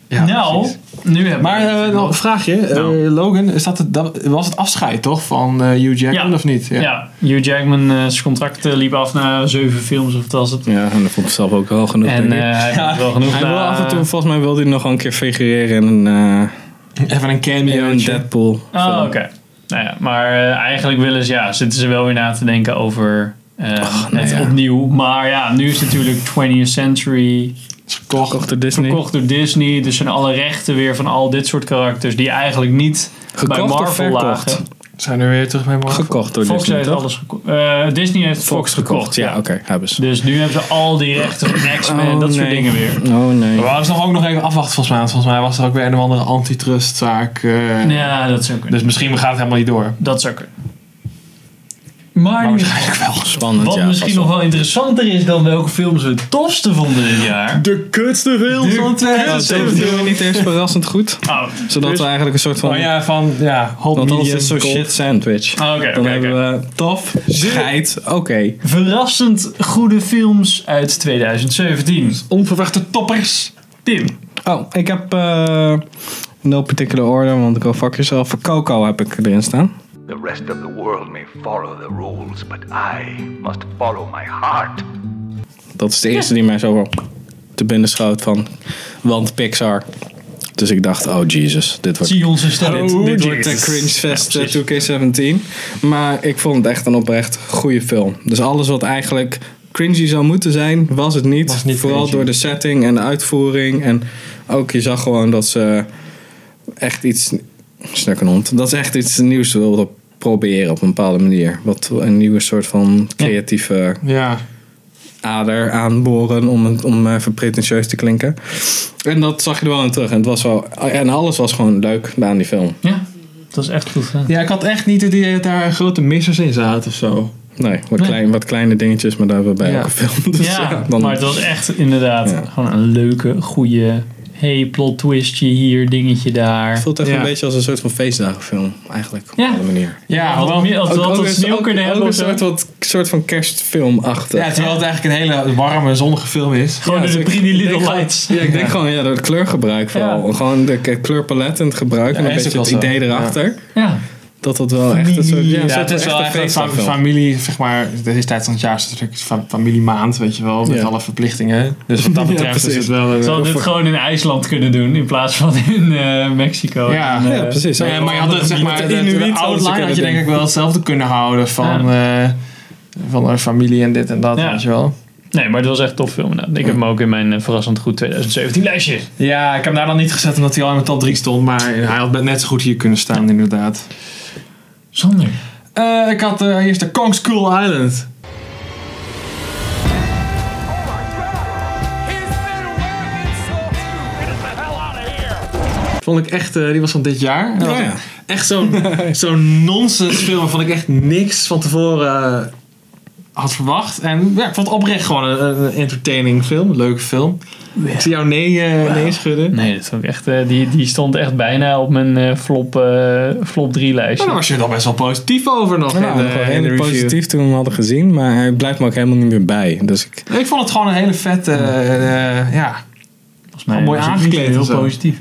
Speaker 2: Ja,
Speaker 1: nou,
Speaker 2: precies.
Speaker 1: nu hebben
Speaker 2: Maar
Speaker 1: we het.
Speaker 2: eh nog een vraagje. Eh,
Speaker 1: Nou.
Speaker 2: Logan, is dat het, dat was het afscheid toch van eh, Hugh Jackman
Speaker 1: Ja.
Speaker 2: of niet?
Speaker 1: ja. Hugh Jackman, eh, zijn contract eh, liep af na zeven films of wat was het.
Speaker 4: Ja, en dat vond ik zelf ook wel genoeg.
Speaker 1: En
Speaker 4: denk
Speaker 1: eh,
Speaker 4: ik.
Speaker 1: hij heeft wel genoeg
Speaker 4: hij wil
Speaker 1: na-
Speaker 4: af en toe, volgens mij wil hij nog wel een keer figureren in een, eh,
Speaker 2: Even een
Speaker 4: in
Speaker 2: cameo.
Speaker 4: een Deadpool
Speaker 1: Oh,
Speaker 4: film.
Speaker 1: oké. Nou ja, maar eh, eigenlijk willen ze, ja, zitten ze wel weer na te denken over eh,
Speaker 4: nou
Speaker 1: het
Speaker 4: ja.
Speaker 1: opnieuw. Maar ja, nu is het natuurlijk 20th Century
Speaker 2: Gekocht.
Speaker 4: Kocht door Disney.
Speaker 1: gekocht door Disney. Dus zijn alle rechten weer van al dit soort karakters die eigenlijk niet bij
Speaker 4: Gekocht of
Speaker 1: Marvel
Speaker 4: verkocht?
Speaker 1: lagen.
Speaker 2: Zijn er weer terug bij Marvel?
Speaker 4: Gekocht door
Speaker 1: Fox
Speaker 4: Disney,
Speaker 1: heeft
Speaker 4: toch?
Speaker 1: alles gekocht. Eh, Disney heeft Fox, gekocht,
Speaker 4: Ja, oké, hebben ze.
Speaker 1: Dus nu hebben ze al die rechten van X-Men en
Speaker 4: Oh,
Speaker 1: dat soort
Speaker 4: nee.
Speaker 1: dingen weer.
Speaker 4: Oh nee.
Speaker 2: We hadden ze nog ook nog even afwachten volgens mij. want Volgens mij was er ook weer een of andere antitrustzaak. eh
Speaker 1: Ja, dat zou kunnen.
Speaker 2: Dus misschien gaat het helemaal niet door.
Speaker 4: Dus-
Speaker 1: dat zou kunnen. Maar,
Speaker 2: Maar waarschijnlijk wel.
Speaker 4: Spannend,
Speaker 1: wat
Speaker 4: ja.
Speaker 1: misschien
Speaker 4: vast wel.
Speaker 1: nog wel interessanter is dan welke films we het tofste vonden dit jaar.
Speaker 2: De kutste film
Speaker 1: van
Speaker 4: Oh, dat doen we niet eens verrassend goed.
Speaker 1: Oh,
Speaker 4: Zodat we eigenlijk een soort van...
Speaker 2: Oh ja, van ja, hot
Speaker 4: Want anders is
Speaker 2: medium,
Speaker 4: het zo'n
Speaker 2: cold.
Speaker 4: shit sandwich.
Speaker 1: Ah, oké,
Speaker 4: Dan
Speaker 1: oké,
Speaker 4: hebben we tof, scheid, oké.
Speaker 1: verrassend goede films uit 2017.
Speaker 2: Onverwachte toppers.
Speaker 1: Tim.
Speaker 4: Oh, ik heb eh no particular order, want ik wil fuck yourself. Voor Coco heb ik erin staan.
Speaker 8: The rest of the world may follow the rules, but I must follow my heart.
Speaker 4: Dat is de eerste die mij zo wel te binnen schoot van, want Pixar. Dus ik dacht, oh Jesus, dit wordt
Speaker 1: Zie onze stem.
Speaker 4: Dit, Oh, dit wordt
Speaker 1: Oh,
Speaker 4: de cringe fest eh, 2K17. Maar ik vond het echt een oprecht goede film. Dus alles wat eigenlijk cringy zou moeten zijn, was het niet.
Speaker 2: Was niet
Speaker 4: Vooral
Speaker 2: cringy.
Speaker 4: door de setting en de uitvoering. En ook je zag gewoon dat ze echt iets... Snak een hond. Dat ze echt iets nieuws wilden proberen op een bepaalde manier. Wat een nieuwe soort van creatieve
Speaker 2: Ja.
Speaker 4: ader aanboren om, het- om even pretentieus te klinken. En dat zag je er wel in terug. En, het was wel, en alles was gewoon leuk aan die film.
Speaker 1: Ja, dat Dat is echt goed gedaan.
Speaker 2: Ja, ik had echt niet het idee dat daar grote missers in zaten of zo.
Speaker 4: Nee, wat, Klein, wat kleine dingetjes, maar daar hebben we bij
Speaker 2: Ja.
Speaker 4: elke film. Dus ja,
Speaker 1: ja,
Speaker 4: dan,
Speaker 1: maar het was echt inderdaad
Speaker 4: Ja.
Speaker 1: gewoon een leuke, goede. Hey, plot twistje hier, dingetje daar.
Speaker 4: voelt echt
Speaker 2: Ja.
Speaker 4: een beetje als een soort van feestdagenfilm, eigenlijk. Op
Speaker 1: Ja.
Speaker 4: een andere manier.
Speaker 2: Ja,
Speaker 1: Had
Speaker 2: wel.
Speaker 1: meer- Als we
Speaker 4: Ook-
Speaker 1: dat
Speaker 4: ook
Speaker 1: tot
Speaker 4: een-
Speaker 1: sneeuw
Speaker 4: ook-
Speaker 1: kunnen
Speaker 4: ook
Speaker 1: hebben
Speaker 4: een
Speaker 1: of zo.
Speaker 4: soort, wat, soort van kerstfilmachtig.
Speaker 2: Ja, terwijl het eigenlijk een hele warme, zonnige film is.
Speaker 1: Gewoon
Speaker 4: Ja,
Speaker 1: de
Speaker 4: dus ik
Speaker 1: pretty
Speaker 4: denk
Speaker 1: little
Speaker 4: gewoon-
Speaker 1: lights.
Speaker 4: Ja, ik denk gewoon ja, door het kleurgebruik vooral.
Speaker 1: Ja.
Speaker 4: Gewoon de k- kleurpalet en het gebruik en
Speaker 2: Ja,
Speaker 4: een
Speaker 2: is
Speaker 4: beetje
Speaker 2: ook
Speaker 4: het
Speaker 2: wel zo.
Speaker 4: idee erachter.
Speaker 1: Ja.
Speaker 4: Dat dat wel echt een soort, ja, een
Speaker 2: Ja,
Speaker 4: soort
Speaker 2: het is
Speaker 4: van
Speaker 2: wel
Speaker 4: echte
Speaker 2: echt een fam-
Speaker 4: feestdagfilm.
Speaker 2: familie, zeg maar, deze tijd van het jaar is natuurlijk fam- familiemaand, weet je wel, met
Speaker 4: Ja.
Speaker 2: alle verplichtingen. Dus wat dat
Speaker 4: Ja,
Speaker 2: betreft is
Speaker 4: precies.
Speaker 2: het wel een...
Speaker 1: Ze hadden het gewoon in IJsland kunnen doen in plaats van in eh, Mexico.
Speaker 2: Ja.
Speaker 1: En, eh,
Speaker 4: Ja, precies.
Speaker 2: Nee, maar je had het, zeg maar, de, de,
Speaker 4: Met de Inuit hadden ze
Speaker 2: outline had
Speaker 4: kunnen
Speaker 2: je denk
Speaker 4: doen.
Speaker 2: ik wel hetzelfde kunnen houden van, eh, van een familie en dit en dat,
Speaker 1: Ja.
Speaker 2: weet je wel.
Speaker 1: Nee, maar het was echt tof film. inderdaad. Ik heb hem ook in mijn eh, verrassend goed 2017 lijstje.
Speaker 2: Ja, ik heb hem daar dan niet gezet omdat hij al in mijn top 3 stond, maar hij had net zo goed hier kunnen staan, inderdaad.
Speaker 1: Sander.
Speaker 2: Eh, ik had eh eerst de Kong School Island. Vond ik echt, eh, die was van dit jaar. En dat was
Speaker 4: Oh, ja.
Speaker 2: Echt zo'n zo'n nonsens film waarvan ik echt niks van tevoren eh, had verwacht. En ja, ik vond het oprecht gewoon een, een entertaining film, een leuke film. Ik zie jou nee, eh, nee schudden.
Speaker 1: Nee, dat vond ik echt, eh, die, die stond echt bijna op mijn eh, flop, eh, flop 3
Speaker 2: Maar
Speaker 4: Oh,
Speaker 1: lijstje.
Speaker 2: daar was je dan best wel positief over nog.
Speaker 4: Ja,
Speaker 2: in de-
Speaker 4: nog wel
Speaker 2: in de
Speaker 4: redelijk
Speaker 2: review.
Speaker 4: positief toen we hem hadden gezien, maar hij blijft me ook helemaal niet meer bij. Dus ik,
Speaker 2: Ik vond het gewoon een hele vette, eh, eh, ja,
Speaker 1: Volgens mij
Speaker 2: mooi
Speaker 1: was het niet
Speaker 2: aangekleed en
Speaker 1: Heel
Speaker 2: zo.
Speaker 1: positief.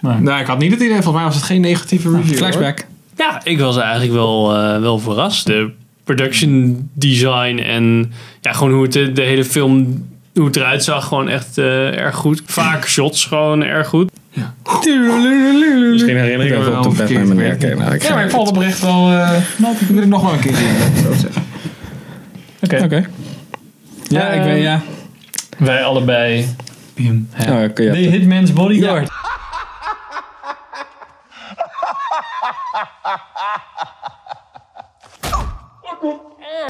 Speaker 1: Maar,
Speaker 2: Nou, ik had niet het idee. Volgens mij was het geen negatieve review.
Speaker 4: flashback.
Speaker 9: Ja, ik was eigenlijk wel, eh, wel verrast. De production design en ja, gewoon hoe het de, de hele film hoe het eruit zag, gewoon echt eh, erg goed. Vaak shots gewoon erg goed.
Speaker 2: Misschien
Speaker 4: Ik
Speaker 2: herinner
Speaker 4: ben wel op de Batman manier. Oké, nou, ik
Speaker 2: Ja,
Speaker 4: ga-
Speaker 2: maar ik vond het oprecht wel... eh
Speaker 1: nou,
Speaker 2: ik wil het nog wel een keer zien. zou ik zeggen.
Speaker 1: Oké,
Speaker 4: Oké. Ja, ik ben, ja.
Speaker 1: wij allebei. Bim. hè.
Speaker 4: Oh, oké, ja.
Speaker 1: The Hitman's Bodyguard.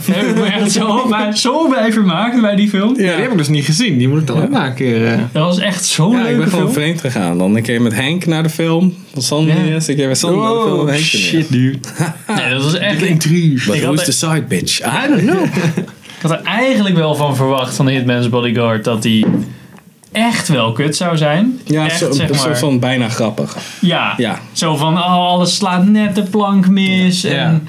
Speaker 1: Daar heb ik me echt zo bij, zo bij vermaakt bij die film.
Speaker 2: Ja, die heb ik dus niet gezien. Die moet ik dan ook maar een keer... eh,
Speaker 1: Dat was echt zo'n
Speaker 4: Ja, ik ben
Speaker 1: leuke
Speaker 4: gewoon
Speaker 1: film.
Speaker 4: vreemd gegaan. Dan een keer met Henk naar de film. Van Sander
Speaker 1: Ja.
Speaker 4: de eerste keer met Sander naar de film. en Henk de eerste.
Speaker 2: dude.
Speaker 1: Nee, dat was echt... Ik
Speaker 2: Intrigue.
Speaker 4: But
Speaker 1: had
Speaker 4: who's
Speaker 1: e-
Speaker 4: the side bitch? I don't know.
Speaker 1: had er eigenlijk wel van verwacht van de Hitman's Bodyguard dat die echt wel kut zou zijn.
Speaker 4: Ja,
Speaker 1: echt,
Speaker 4: zo,
Speaker 1: zeg
Speaker 4: zo
Speaker 1: maar.
Speaker 4: van bijna grappig.
Speaker 1: ja.
Speaker 4: Ja.
Speaker 1: Zo van, oh, alles slaat net de plank mis.
Speaker 2: Ja.
Speaker 1: En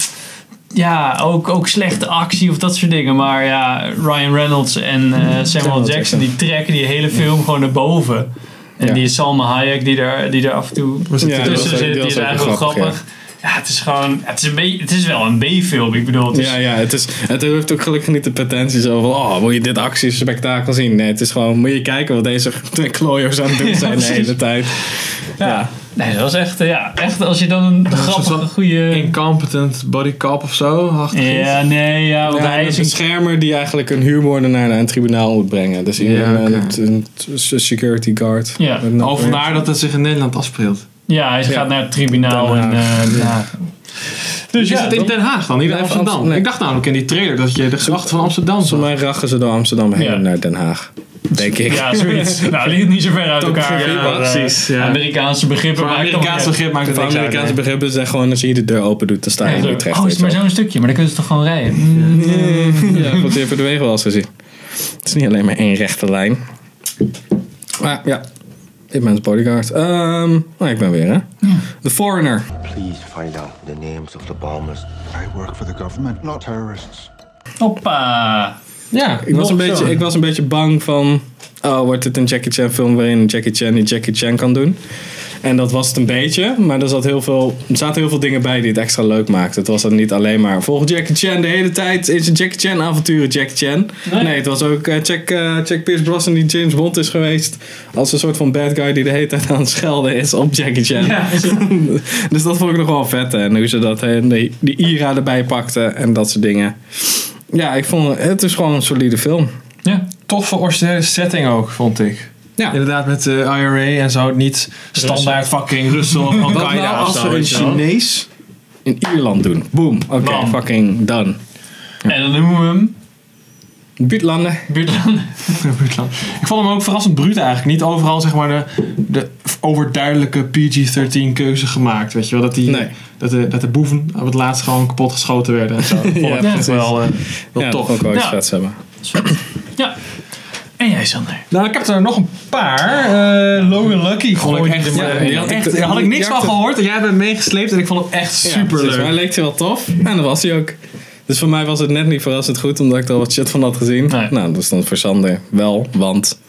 Speaker 1: ja, ook, ook slechte actie of dat soort dingen. Maar ja, Ryan Reynolds en eh, Samuel
Speaker 4: Jackson.
Speaker 1: Jackson, die trekken die hele film gewoon naar boven. En
Speaker 4: Ja.
Speaker 1: die Salma Hayek die daar, die daar af en toe
Speaker 4: Ja, die was
Speaker 1: tussen
Speaker 4: ook-
Speaker 1: zit,
Speaker 4: die
Speaker 1: die
Speaker 4: was
Speaker 1: is
Speaker 4: ook wel
Speaker 1: eigenlijk wel
Speaker 4: grappig,
Speaker 1: grappig. Ja. het is gewoon, het is, een be- het is wel een B-film. Ik bedoel, het is
Speaker 4: Ja, ja het, is, het heeft ook gelukkig niet de potentie zo van... Oh, moet je dit actiespektakel zien? Nee, het is gewoon... Moet je kijken wat deze twee klooiers aan het doen zijn de
Speaker 1: precies.
Speaker 4: hele tijd. Ja.
Speaker 1: Nee, dat was echt, eh, ja, echt als je dan een grappige,
Speaker 2: zo'n-
Speaker 1: goede...
Speaker 2: Incompetent body cop of zo. achtig iets.
Speaker 1: Ja, nee, ja, want
Speaker 4: Ja,
Speaker 1: hij is
Speaker 4: een
Speaker 1: een...
Speaker 4: schermer die eigenlijk een huurmoordenaar naar een tribunaal moet brengen. Dus iedereen,
Speaker 2: Ja, oké.
Speaker 4: een, een- een security guard.
Speaker 1: Ja.
Speaker 4: Met een-
Speaker 2: Al vandaar dat het zich in Nederland afspeelt.
Speaker 1: Ja, hij gaat naar het tribunaal
Speaker 4: Den
Speaker 1: en... eh, ja. Dus
Speaker 2: Is
Speaker 1: ja,
Speaker 2: het in Den Haag dan? Niet in
Speaker 4: Ja, of
Speaker 2: Amsterdam?
Speaker 4: Amsterdam.
Speaker 2: Ik dacht namelijk in die trailer dat je de grachten van Amsterdam
Speaker 4: Volgens
Speaker 2: zag.
Speaker 4: mij rachen ze door Amsterdam heen
Speaker 1: Ja.
Speaker 4: naar Den Haag. Denk ik.
Speaker 1: Ja, zoiets. nou, die ligt niet zo ver uit elkaar.
Speaker 4: gegeven,
Speaker 1: maar, eh,
Speaker 2: precies, ja.
Speaker 1: Amerikaanse begrippen.
Speaker 2: Voor
Speaker 1: maken
Speaker 2: Amerikaans
Speaker 1: wel-
Speaker 2: begrip maakt het
Speaker 4: Voor
Speaker 2: niks uit,
Speaker 4: Amerikaanse
Speaker 2: nee.
Speaker 4: begrippen zijn gewoon als je hier de deur open doet, dan sta je in
Speaker 1: Oh,
Speaker 4: Utrecht.
Speaker 1: is
Speaker 4: weet
Speaker 1: het
Speaker 4: je
Speaker 1: maar
Speaker 4: wel.
Speaker 1: zo'n stukje, maar dan kunnen ze toch gewoon rijden? Mm.
Speaker 4: Ja, want die hebben we de wegen wel eens gezien. Het is niet alleen maar één rechte lijn. Maar ja, ik ben het bodyguard. Ehm, nou, ik ben weer, hè. The Foreigner.
Speaker 10: Please find out the names of the bombers.
Speaker 3: I work for the government, not terrorists.
Speaker 1: Hoppa.
Speaker 2: Ja,
Speaker 4: Ik was, een beetje, ik was een beetje bang van... Oh, wordt het een Jackie Chan film waarin Jackie Chan die Jackie Chan kan doen? En dat was het een beetje. Maar er, zat heel veel, er zaten heel veel dingen bij die het extra leuk maakten. Het was dan niet alleen maar... Volg Jackie Chan de hele tijd is een Jackie Chan avonturen Jackie Chan. Nee, het was ook eh, check, eh, check Pierce Brosnan die James Bond is geweest. Als een soort van bad guy die de hele tijd aan het schelden is op Jackie Chan. dus dat vond ik nog wel vet. hè. En hoe ze dat, hè, die, die Ira erbij pakten en dat soort dingen. Ja, ik vond het is gewoon een solide film.
Speaker 1: Ja.
Speaker 2: toffe originele setting ook, vond ik.
Speaker 4: Ja.
Speaker 2: Inderdaad, met eh, de IRA en zo. Niet standaard fucking Russel of
Speaker 4: Wat
Speaker 2: Al-Qaeda
Speaker 4: nou
Speaker 2: of
Speaker 4: als
Speaker 2: zo.
Speaker 4: we een
Speaker 2: weet je wel.
Speaker 4: Chinees in Ierland doen? Boom. Oké,
Speaker 1: Bam.
Speaker 4: fucking done.
Speaker 1: En dan noemen we hem
Speaker 4: Buurtlanden.
Speaker 1: Buurtland.
Speaker 2: Ik vond hem ook verrassend bruut eigenlijk. Niet overal zeg maar de, de overduidelijke PG-13 keuze gemaakt. Weet je wel, dat, die, dat, de, dat de boeven op het laatst gewoon kapot geschoten werden en zo. Dat vond ik
Speaker 4: Ja,
Speaker 2: echt
Speaker 4: precies.
Speaker 2: wel, eh, wel
Speaker 4: Ja, dat
Speaker 2: tof.
Speaker 4: vond ik wel iets
Speaker 2: Ja.
Speaker 4: vets hebben.
Speaker 1: Ja. En jij, Sander?
Speaker 2: Nou, ik heb er nog een paar. Eh, Logan Lucky vond ik echt...
Speaker 4: maar
Speaker 2: ja,
Speaker 4: in.
Speaker 2: die had
Speaker 4: Ik-
Speaker 2: echt-
Speaker 4: ik-
Speaker 2: daar had ik niks
Speaker 4: ik-
Speaker 2: van gehoord. En jij hebt hem meegesleept en ik vond hem echt super
Speaker 4: precies. Maar hij
Speaker 2: leuk.
Speaker 4: leek hij wel tof. En dat was hij ook. Dus voor mij was het net niet verrassend goed, omdat ik er al wat shit van had gezien. Nou, dat stond voor Sander wel, want...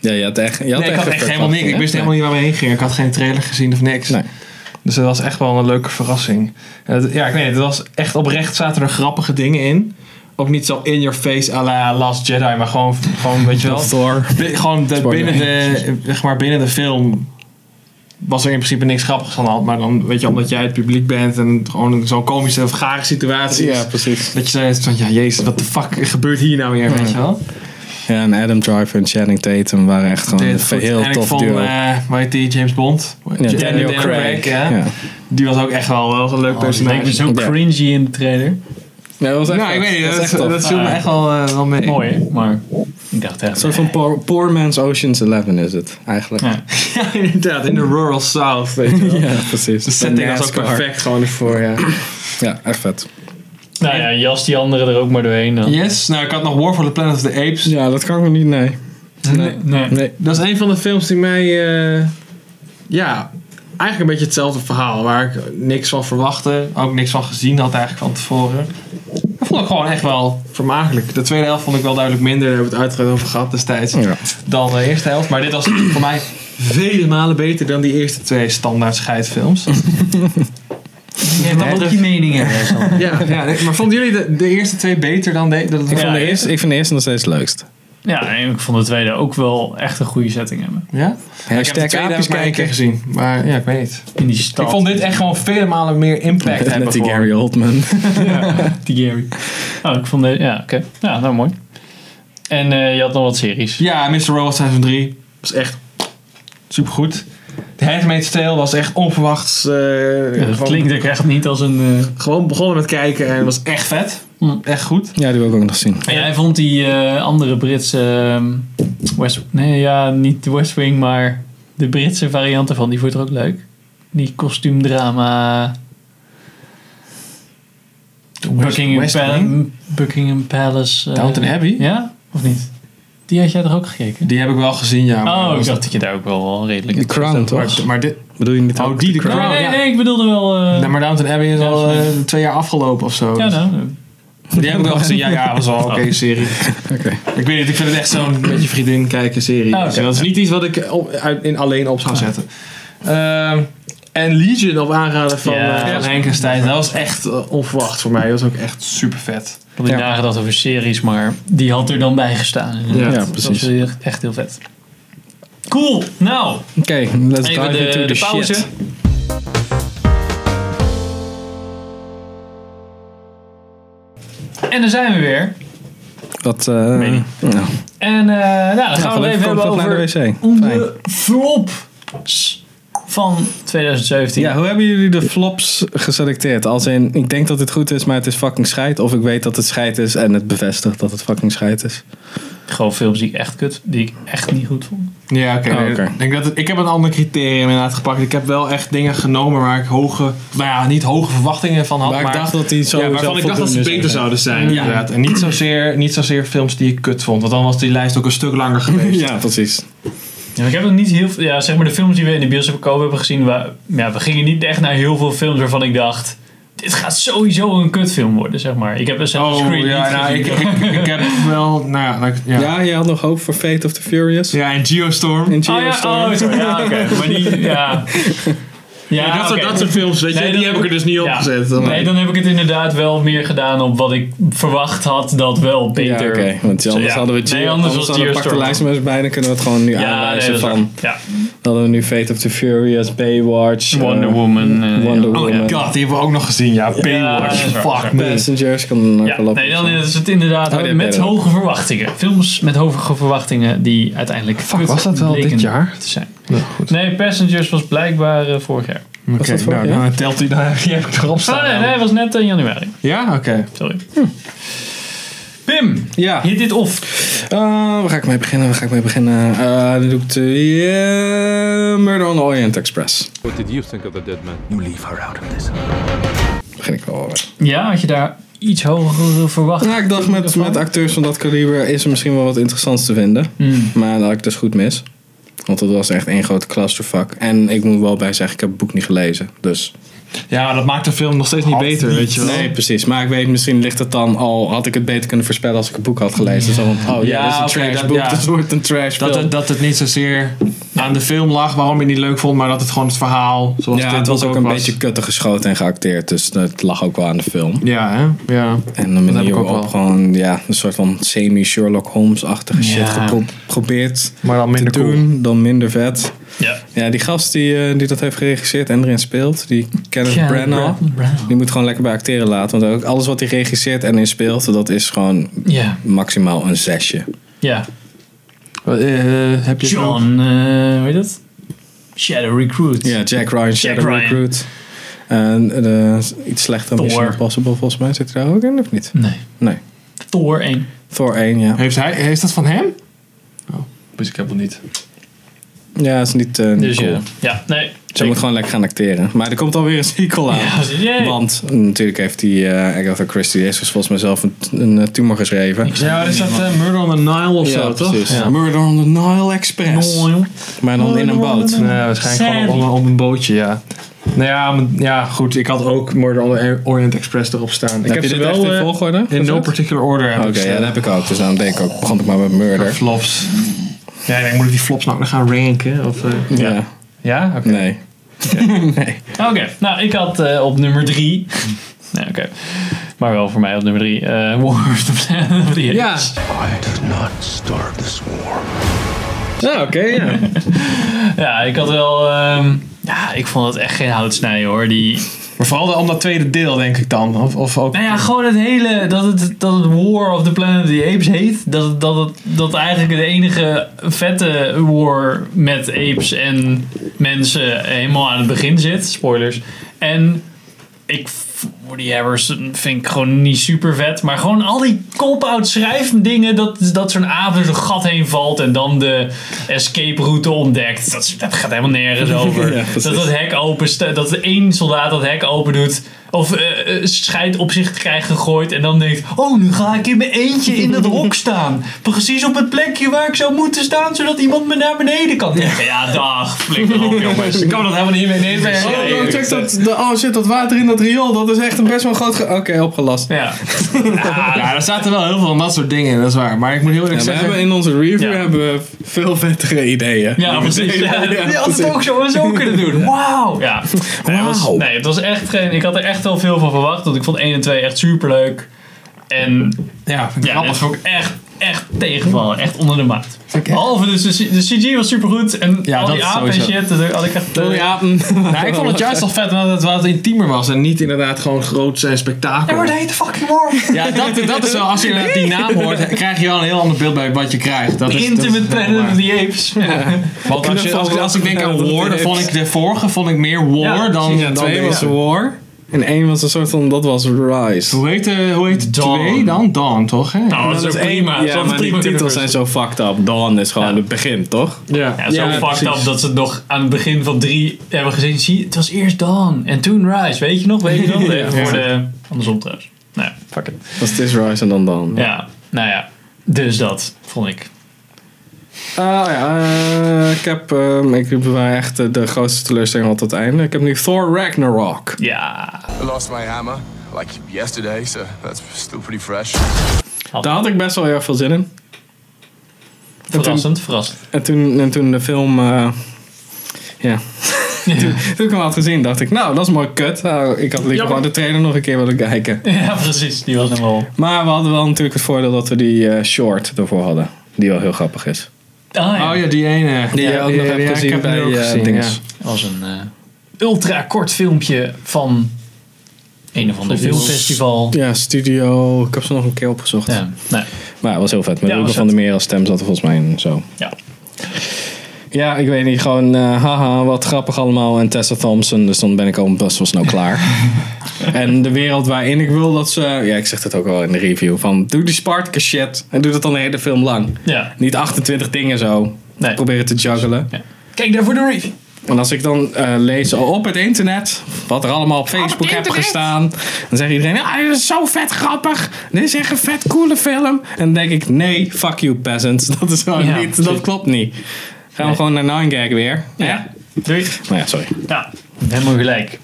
Speaker 4: Ja, je had echt, je had
Speaker 2: Nee, ik
Speaker 4: echt
Speaker 2: had
Speaker 4: een
Speaker 2: echt helemaal niks.
Speaker 4: verwachting,
Speaker 2: Ik wist
Speaker 4: hè?
Speaker 2: helemaal niet waar we heen gingen. Ik had geen trailer gezien of niks. Dus dat was echt wel een leuke verrassing. En het- ja, ik weet het. Het was echt oprecht zaten er grappige dingen in. Ook niet zo in your face à la Last Jedi, maar gewoon, gewoon weet je wel.
Speaker 4: Of Thor.
Speaker 2: Bi- gewoon de,
Speaker 4: Spoiler.
Speaker 2: binnen, de, zeg maar, binnen de film was er in principe niks grappigs aan de hand. Maar dan, weet je, omdat jij het publiek bent en gewoon een- zo'n komische of gare situatie. is,
Speaker 4: Ja, precies.
Speaker 2: Dat je zoiets van, ja, jezus, wat de fuck gebeurt hier nou weer, weet je wel?
Speaker 4: Ja, en Adam Driver en Channing Tatum waren echt gewoon
Speaker 2: Dit
Speaker 4: een
Speaker 2: goed.
Speaker 4: heel
Speaker 2: en ik
Speaker 4: tof
Speaker 2: vond,
Speaker 4: duo.
Speaker 2: eh, hoe heet die, James Bond?
Speaker 4: Ja,
Speaker 2: Ja,
Speaker 4: Daniel Craig,
Speaker 2: ja.
Speaker 4: ja. Oh,
Speaker 2: Die was ook echt wel, wel een leuk personage.
Speaker 1: Ik ben zo
Speaker 4: Ja.
Speaker 1: cringy in de trailer.
Speaker 4: Ja, dat was echt
Speaker 2: nou, ik
Speaker 4: vet.
Speaker 2: weet niet,
Speaker 4: Dat was
Speaker 2: dat,
Speaker 4: echt tof.
Speaker 2: dat viel me
Speaker 1: Ah.
Speaker 2: echt wel, eh, wel mee.
Speaker 1: Mooi, hè? maar ik dacht
Speaker 4: Een
Speaker 1: echt...
Speaker 4: soort van poor, poor man's Ocean's Eleven is het, eigenlijk.
Speaker 1: Ja.
Speaker 2: ja, inderdaad, in de rural south, weet je wel.
Speaker 4: Ja, precies.
Speaker 2: De setting was ook
Speaker 4: NASCAR.
Speaker 2: perfect gewoon ervoor, ja.
Speaker 4: Ja, echt vet.
Speaker 9: Nou ja, jas die anderen er ook maar doorheen. dan.
Speaker 2: Yes, nou ik had nog War for the Planet of the Apes.
Speaker 4: Ja, dat kan ik nog niet, nee.
Speaker 1: Nee. nee.
Speaker 4: Nee.
Speaker 2: Dat is een van de films die mij. eh, ja, eigenlijk een beetje hetzelfde verhaal. Waar ik niks van verwachtte. Ook niks van gezien had eigenlijk van tevoren. Dat vond ik gewoon echt wel vermakelijk. De tweede helft vond ik wel duidelijk minder. Daar hebben we het uitgebreid over gehad destijds.
Speaker 4: Ja.
Speaker 2: Dan de eerste helft. Maar dit was voor mij vele malen beter dan die eerste twee standaard scheidfilms.
Speaker 1: Jij hebt ook die mening hebben. Sander.
Speaker 2: ja, ja, maar vonden jullie de, de eerste twee beter dan de... Dat
Speaker 4: Ik,
Speaker 1: Ja,
Speaker 4: vond de
Speaker 1: ik-
Speaker 4: eerste, ik vind de eerste nog steeds het leukst.
Speaker 1: Ja, en ik vond de tweede ook wel echt een goede setting hebben.
Speaker 2: e- ja? Ik heb de
Speaker 4: Hashtag
Speaker 2: tweede
Speaker 4: aapjes
Speaker 2: helft maar één keer
Speaker 4: kijken.
Speaker 2: gezien. Maar ja, ik weet niet.
Speaker 1: In die stad.
Speaker 2: Ik vond dit echt gewoon vele malen meer impact hebben.
Speaker 4: Met die
Speaker 2: voor me.
Speaker 4: Gary Oldman.
Speaker 1: die Gary. Oh, ik vond dit... Ja, oké. Ja, nou mooi.
Speaker 9: En eh, je had nog wat series.
Speaker 2: Ja, Mr. Robot seizoen 3 was echt supergoed. The Handmaid's Tale was echt onverwachts. eh,
Speaker 1: dat
Speaker 2: gewoon,
Speaker 1: klinkt ook echt niet als een... eh,
Speaker 2: gewoon begonnen met kijken en was echt vet. Echt goed.
Speaker 4: Ja, die wil ik ook nog zien.
Speaker 1: En jij vond die eh, andere Britse ehm, West Nee, ja, niet de West Wing, maar de Britse variant ervan. Die vond je toch ook leuk? Die kostuumdrama... Buckingham,
Speaker 2: West
Speaker 1: Pal-
Speaker 2: Wing?
Speaker 1: Buckingham Palace... eh,
Speaker 2: Downton Abbey?
Speaker 1: Ja? Of niet? Die had jij toch ook gekeken?
Speaker 2: Die heb ik wel gezien, ja. maar
Speaker 1: oh, ik
Speaker 2: was-
Speaker 1: dacht dat je daar ook wel, wel redelijk...
Speaker 4: The Crown,
Speaker 2: maar,
Speaker 4: toch?
Speaker 2: maar dit,
Speaker 4: Bedoel je niet
Speaker 2: oh,
Speaker 4: ook?
Speaker 2: die de Crown.
Speaker 1: Nee, nee,
Speaker 2: ja.
Speaker 1: nee, ik bedoelde wel... eh,
Speaker 2: Nee, maar Downton Abbey is al eh, twee jaar afgelopen of zo.
Speaker 1: ja,
Speaker 2: Dus
Speaker 1: nou,
Speaker 2: Die heb ik wel gezien. Ja, ja, was wel een oké serie.
Speaker 4: Oh. Oké. Oh,
Speaker 2: Ik weet niet, ik vind het echt zo'n beetje vriendin kijken serie.
Speaker 1: Ah, oké.
Speaker 2: Dus dat is niet iets wat ik op, uit, in alleen op
Speaker 4: Ah.
Speaker 2: zou zetten. Ehm, en Legion op aanraden van,
Speaker 9: Ja.
Speaker 2: eh, van Henk en Stijn. Dat was echt eh, onverwacht voor mij. Dat was ook echt super vet.
Speaker 9: Ik had niet
Speaker 4: Ja.
Speaker 9: nagedacht over series, maar
Speaker 1: die had er dan bij gestaan.
Speaker 4: Ja,
Speaker 1: Dat
Speaker 4: precies.
Speaker 1: was echt- echt heel vet. Cool, nou,
Speaker 4: Oké, let's
Speaker 9: even
Speaker 4: dive
Speaker 9: de,
Speaker 4: into the
Speaker 9: de pauze.
Speaker 4: shit.
Speaker 1: en daar zijn we weer.
Speaker 4: Wat, eh nou, nou,
Speaker 1: En eh, nou, dan gaan we het
Speaker 4: gelukkig
Speaker 1: even
Speaker 4: komt
Speaker 1: hebben
Speaker 4: dat naar de
Speaker 1: over
Speaker 4: wc. Fijn.
Speaker 1: onze flops van 2017.
Speaker 4: Ja, hoe hebben jullie de flops geselecteerd? Als in, ik denk dat het goed is, maar het is fucking scheid. Of ik weet dat het scheid is en het bevestigt dat het fucking scheid is.
Speaker 1: Gewoon films die ik echt kut, die ik echt niet goed vond.
Speaker 2: Ja, oké.
Speaker 4: Oh,
Speaker 2: nee,
Speaker 4: oké.
Speaker 2: ik denk dat het- ik heb een ander criterium inderdaad gepakt. Ik heb wel echt dingen genomen waar ik hoge, nou ja, niet hoge verwachtingen van had.
Speaker 4: Maar ik
Speaker 2: maar
Speaker 4: dacht dat die zo
Speaker 2: ja, waarvan
Speaker 4: zelf
Speaker 2: ik dacht dat ze
Speaker 4: voldoende
Speaker 2: beter
Speaker 4: zijn.
Speaker 2: zouden zijn. Inderdaad. En niet zozeer, niet zozeer films die ik kut vond. Want dan was die lijst ook een stuk langer geweest.
Speaker 4: Ja, precies.
Speaker 1: Ja, ik heb nog niet heel veel, ja, zeg maar de films die we in de bioscoop kopen hebben gezien, we, ja, we gingen niet echt naar heel veel films waarvan ik dacht, dit gaat sowieso een kutfilm worden, zeg maar. Ik heb Assassin's
Speaker 2: Oh,
Speaker 1: Creed
Speaker 2: ja,
Speaker 1: niet
Speaker 2: nou, ik,
Speaker 1: gezien.
Speaker 2: ik, ik heb wel, nou ja, nou, ja.
Speaker 4: Ja, je had nog hoop voor Fate of the Furious.
Speaker 2: Ja, en Geostorm.
Speaker 4: In
Speaker 1: Oh
Speaker 4: Geostorm.
Speaker 1: ja, oh, sorry. Ja, oké. Maar die, ja. Ja,
Speaker 2: dat, soort,
Speaker 1: oké.
Speaker 2: dat soort films, weet je,
Speaker 1: Nee,
Speaker 2: die
Speaker 1: dan-
Speaker 2: heb ik er dus niet op
Speaker 1: Ja.
Speaker 2: gezet. Dan-
Speaker 1: Nee, dan heb ik het inderdaad wel meer gedaan op wat ik verwacht had dat wel
Speaker 4: Ja,
Speaker 1: beter.
Speaker 4: oké. Want anders
Speaker 1: Ja.
Speaker 4: hadden we Geo-
Speaker 1: Nee, anders was
Speaker 4: hadden we
Speaker 1: Geostorm.
Speaker 4: pak de lijst maar eens bij. Dan kunnen we het gewoon nu
Speaker 1: Ja, nee,
Speaker 4: aanwijzen
Speaker 1: dat is
Speaker 4: van...
Speaker 1: waar.
Speaker 4: Dan hadden we nu Fate of the Furious, Baywatch...
Speaker 1: ja.
Speaker 4: eh,
Speaker 1: Wonder Woman. eh,
Speaker 4: Wonder
Speaker 1: ja.
Speaker 2: Oh my
Speaker 4: Woman.
Speaker 2: god, die hebben we ook nog gezien. Ja, Baywatch.
Speaker 1: dat is waar.
Speaker 2: Fuck me.
Speaker 4: Passengers kan dan ook wel
Speaker 1: Ja,
Speaker 4: op.
Speaker 1: nee, dan is het inderdaad
Speaker 4: Oh, die heb
Speaker 1: met
Speaker 4: jij dan.
Speaker 1: hoge verwachtingen. Films met hoge verwachtingen die uiteindelijk. kut
Speaker 2: was dat wel
Speaker 1: bleken
Speaker 2: dit jaar?
Speaker 1: Te zijn. Nee, Passengers was blijkbaar eh, vorig jaar.
Speaker 2: Oké,
Speaker 4: dat voor
Speaker 2: nou,
Speaker 4: je?
Speaker 2: nou, telt die daar. Die heb ik erop
Speaker 1: Oh
Speaker 2: staan.
Speaker 1: nee, nee, was net in januari.
Speaker 2: Ja, oké.
Speaker 1: Sorry. Tim,
Speaker 4: ja.
Speaker 1: hit dit off.
Speaker 4: Eh, waar ga ik mee beginnen? Waar ga ik mee beginnen? Eh, dan doe ik de eh, Murder on the Orient Express.
Speaker 11: What did you think of the dead man?
Speaker 10: You leave her out of this.
Speaker 4: Begin ik wel. eh,
Speaker 1: Ja, had je daar iets hoger verwacht?
Speaker 4: Ja, ik dacht met, met acteurs van dat kaliber is er misschien wel wat interessants te vinden.
Speaker 2: Hmm.
Speaker 4: Maar dat had ik dus goed mis. Want dat was echt één grote clusterfuck. En ik moet wel bij zeggen, ik heb het boek niet gelezen. Dus.
Speaker 2: Ja, dat maakt de film nog steeds niet beter, weet je wel.
Speaker 4: Nee, precies. Maar ik weet, misschien ligt het dan al. Had ik het beter kunnen voorspellen als ik het boek had gelezen. Zo van, oh ja, dit is een
Speaker 2: oké,
Speaker 4: trash
Speaker 2: dat-
Speaker 4: boek.
Speaker 2: ja.
Speaker 4: Dit wordt een trash
Speaker 2: dat
Speaker 4: film.
Speaker 2: het, dat het niet zozeer aan de film lag waarom je het niet leuk vond, maar dat het gewoon het verhaal zoals
Speaker 4: ja,
Speaker 2: dit
Speaker 4: het was ook een
Speaker 2: was.
Speaker 4: beetje kutten geschoten en geacteerd. Dus dat lag ook wel aan de film.
Speaker 2: Ja, hè? Ja.
Speaker 4: En de
Speaker 2: Dat heb ik
Speaker 4: manier
Speaker 2: ook
Speaker 4: waarop
Speaker 2: wel.
Speaker 4: gewoon ja, een soort van semi-Sherlock Holmes-achtige shit
Speaker 2: Ja.
Speaker 4: geprobeerd
Speaker 2: Maar dan
Speaker 4: te
Speaker 2: minder cool.
Speaker 4: doen. Dan minder vet.
Speaker 1: Ja.
Speaker 4: Ja, die gast die, eh, die dat heeft geregisseerd en erin speelt, die Kenneth
Speaker 1: Kenneth
Speaker 4: Branagh,
Speaker 1: Branagh.
Speaker 4: die moet gewoon lekker bij acteren laten. Want ook alles wat hij regisseert en in speelt, dat is gewoon
Speaker 1: Ja.
Speaker 4: maximaal een zesje.
Speaker 1: Ja.
Speaker 2: eh, heb je
Speaker 1: John, eh, hoe heet dat? Shadow Recruit.
Speaker 4: Ja, Jack Ryan, Shadow
Speaker 1: Ryan.
Speaker 4: Recruit. En eh, iets slechter dan
Speaker 1: Thor.
Speaker 4: Mission Impossible volgens mij. Zit hij daar ook in of niet?
Speaker 1: Nee.
Speaker 4: Nee.
Speaker 1: Thor 1.
Speaker 4: Thor 1, ja.
Speaker 2: Heeft hij, is dat van hem? Oh, wist ik helemaal niet.
Speaker 4: Ja, is niet, eh, niet
Speaker 1: Dus
Speaker 4: cool.
Speaker 1: ja. Ja, nee.
Speaker 4: Ze moet gewoon lekker gaan acteren. Maar er komt alweer een sequel aan.
Speaker 1: jee.
Speaker 4: Want eh, natuurlijk heeft die eh Agatha Christie, die heeft dus volgens mij zelf een, een eh, tumor geschreven.
Speaker 2: Ja, wat is dat eh, Murder on the Nile of zo, toch?
Speaker 4: precies.
Speaker 2: Ja.
Speaker 4: Murder on the Nile Express. Maar dan in een boot.
Speaker 2: Nee, waarschijnlijk gewoon op, een- op een bootje, ja. Nou ja, maar- ja, goed. Ik had ook Murder on the Orient Express erop staan. Ik
Speaker 4: Heb je
Speaker 2: ze
Speaker 4: dit echt in
Speaker 2: eh,
Speaker 4: volgorde
Speaker 2: In no
Speaker 4: gezet?
Speaker 2: particular order heb
Speaker 4: Oké,
Speaker 2: ik ze.
Speaker 4: ja, dat heb ik ook. Dus dan denk ik ook, begon ik maar met murder.
Speaker 2: Flops. Ja, ik denk, moet ik die flops nou nog gaan ranken? Of, eh?
Speaker 4: Ja.
Speaker 2: Ja? Oké.
Speaker 4: Nee. nee.
Speaker 1: Oké, nou ik had eh, op nummer 3. nee, oké. Maar wel voor mij op nummer 3. eh War of the Planet of the Apes.
Speaker 2: Ja.
Speaker 10: I did not start this war.
Speaker 4: Ja, oké, ja.
Speaker 1: Ja, ik had wel. ehm, ja, ik vond het echt geen houtsnijden hoor. Die,
Speaker 2: Maar vooral de- om dat tweede deel, denk ik dan. Of, of ook...
Speaker 1: nou ja, gewoon het hele. Dat het, dat het War of the Planet of the Apes heet. Dat, het- dat, het, dat eigenlijk de enige vette war met apes en mensen helemaal aan het begin zit. Spoilers. En ik. v- Woody Harrison vind ik gewoon niet super vet. Maar gewoon al die cop-out schrijfdingen. Dat, dat zo'n avond door zo'n gat heen valt. En dan de escape route ontdekt. Dat, is- dat gaat helemaal nergens over.
Speaker 4: Ja,
Speaker 1: dat
Speaker 4: precies.
Speaker 1: dat hek open. sta- Dat één soldaat dat hek open doet. Of eh, eh, scheid op zich krijgt gegooid. En dan denkt. Oh, nu ga ik in mijn eentje in dat hok staan. Precies op het plekje waar ik zou moeten staan. Zodat iemand me naar beneden kan trekken. Ja, dag. Flikker op, jongens. Ik kan dat helemaal niet meer nemen.
Speaker 4: Oh, check dat, de- oh shit, dat water in dat riool, dat is echt een best wel groot... ge- Oké, opgelast.
Speaker 1: Ja. Ah,
Speaker 2: Ja, daar zaten wel heel veel van dat soort dingen, dat is waar. Maar ik moet heel eerlijk
Speaker 4: Ja, we
Speaker 2: zeggen...
Speaker 4: hebben in onze review
Speaker 1: Ja.
Speaker 4: hebben we veel vettere ideeën.
Speaker 1: Ja, precies. Ja,
Speaker 4: Ja,
Speaker 1: die had
Speaker 4: precies.
Speaker 1: het ook zo, zo kunnen doen. Wauw. Ja. Nee, het was,
Speaker 4: Wauw.
Speaker 1: nee, het was echt geen... Ik had er echt wel veel van verwacht. Want ik vond 1 en 2 echt superleuk. En
Speaker 2: Ja, vind ik
Speaker 1: ja, dat
Speaker 2: grappig.
Speaker 1: vond ik echt, echt tegenvallen. Echt onder de maat.
Speaker 2: Vind ik echt-
Speaker 1: Behalve dus de, C- de CG was supergoed. En
Speaker 2: Ja,
Speaker 1: al die
Speaker 2: dat
Speaker 1: apen en
Speaker 2: sowieso. Oh,
Speaker 1: shit. Dat had ik echt... eh,
Speaker 2: Ja, nou, ik vond het juist al vet omdat het wat intiemer was. En niet inderdaad gewoon groot en spektakel.
Speaker 1: Er wordt heet fucking warm.
Speaker 2: Ja, dat, dat is wel... Als je inderdaad die naam hoort, krijg je wel een heel ander beeld bij wat je krijgt. Dat is, dat is
Speaker 1: Intimate
Speaker 2: wel
Speaker 1: Planet
Speaker 2: waar.
Speaker 1: of the Apes. Ja.
Speaker 2: Want als, je, als, ik- als ik denk aan War, dan vond ik de vorige vond ik meer War
Speaker 1: Ja,
Speaker 2: dan,
Speaker 1: precies.
Speaker 4: Ja,
Speaker 2: dan
Speaker 4: twee
Speaker 2: deze.
Speaker 4: was War. En één was een soort van, dat was Rise.
Speaker 2: Hoe heet, eh, hoe heet
Speaker 1: Dawn.
Speaker 2: twee dan? Dawn, toch? Hè?
Speaker 1: Nou, dat is
Speaker 4: één-
Speaker 1: prima. Ze
Speaker 4: Ja,
Speaker 1: hadden
Speaker 4: maar die
Speaker 1: prima kunnen
Speaker 4: titels zijn zo fucked up. Dawn is gewoon
Speaker 1: Ja.
Speaker 4: het begin, toch?
Speaker 2: ja.
Speaker 1: Ja, zo fucked up dat ze het nog aan het begin van drie hebben gezien. Zie, het was eerst Dawn en toen Rise. Weet je nog? Weet je nog?
Speaker 2: Ja.
Speaker 1: Voor de, andersom trouwens. Nou ja, fuck it.
Speaker 4: Dat is This Rise en dan Dawn.
Speaker 1: Ja, nou ja. Dus dat, vond ik.
Speaker 4: Ah, ja, eh, ik heb, ehm, ik bewaar echt eh, de grootste teleurstelling al tot het einde. Ik heb nu Thor Ragnarok.
Speaker 1: Ja.
Speaker 12: I lost my hammer like yesterday, so that's still pretty fresh.
Speaker 4: Daar had ik best wel heel erg veel zin in.
Speaker 1: Verrassend, verrassend.
Speaker 4: En toen, en toen de film, eh, ja, toen, toen ik hem had gezien, dacht ik, nou, dat is mooi kut. Nou, ik had liever
Speaker 1: Jammer.
Speaker 4: gewoon de trailer nog een keer willen kijken.
Speaker 1: Ja, precies. Die was helemaal...
Speaker 4: Maar we hadden wel natuurlijk het voordeel dat we die eh, short ervoor hadden. Die wel heel grappig is.
Speaker 1: Ah ja,
Speaker 2: Oh ja, die ene.
Speaker 4: Die je ook nog hebt gezien
Speaker 2: ik heb
Speaker 4: bij
Speaker 2: die ook
Speaker 4: eh,
Speaker 2: gezien,
Speaker 4: dinges.
Speaker 2: ja.
Speaker 1: dat was een eh, ultra kort filmpje van een of ander filmfestival.
Speaker 4: Ja. studio. Ik heb ze nog een keer opgezocht.
Speaker 1: Ja, nou,
Speaker 4: Maar het was heel vet. Met
Speaker 1: Ja,
Speaker 4: Ruben
Speaker 1: was
Speaker 4: van
Speaker 1: vet.
Speaker 4: der Meer als stem zat er volgens mij in. Zo.
Speaker 1: ja.
Speaker 4: Ja, ik weet niet. Gewoon, eh, haha, wat grappig allemaal. En Tessa Thompson, dus dan ben ik al best wel snel klaar. en de wereld waarin ik wil dat ze... Ja, ik zeg dat ook al in de review. Van, doe die Spartacus shit. En doe dat dan de hele film lang.
Speaker 1: Ja.
Speaker 4: Niet 28 dingen zo. Proberen te juggelen.
Speaker 2: Kijk daarvoor de review.
Speaker 4: Want als ik dan eh, lees op het internet, wat er allemaal op Facebook heb gestaan, dan zegt iedereen, ah, dit is zo vet grappig, dit is echt een vet coole film. En dan denk ik, nee, fuck you peasants, dat is gewoon
Speaker 1: Ja,
Speaker 4: niet, dat klopt niet. Gaan we gewoon naar Nine Gag weer. Ja.
Speaker 1: Doei.
Speaker 4: Nou ja, sorry.
Speaker 1: Ja, helemaal gelijk.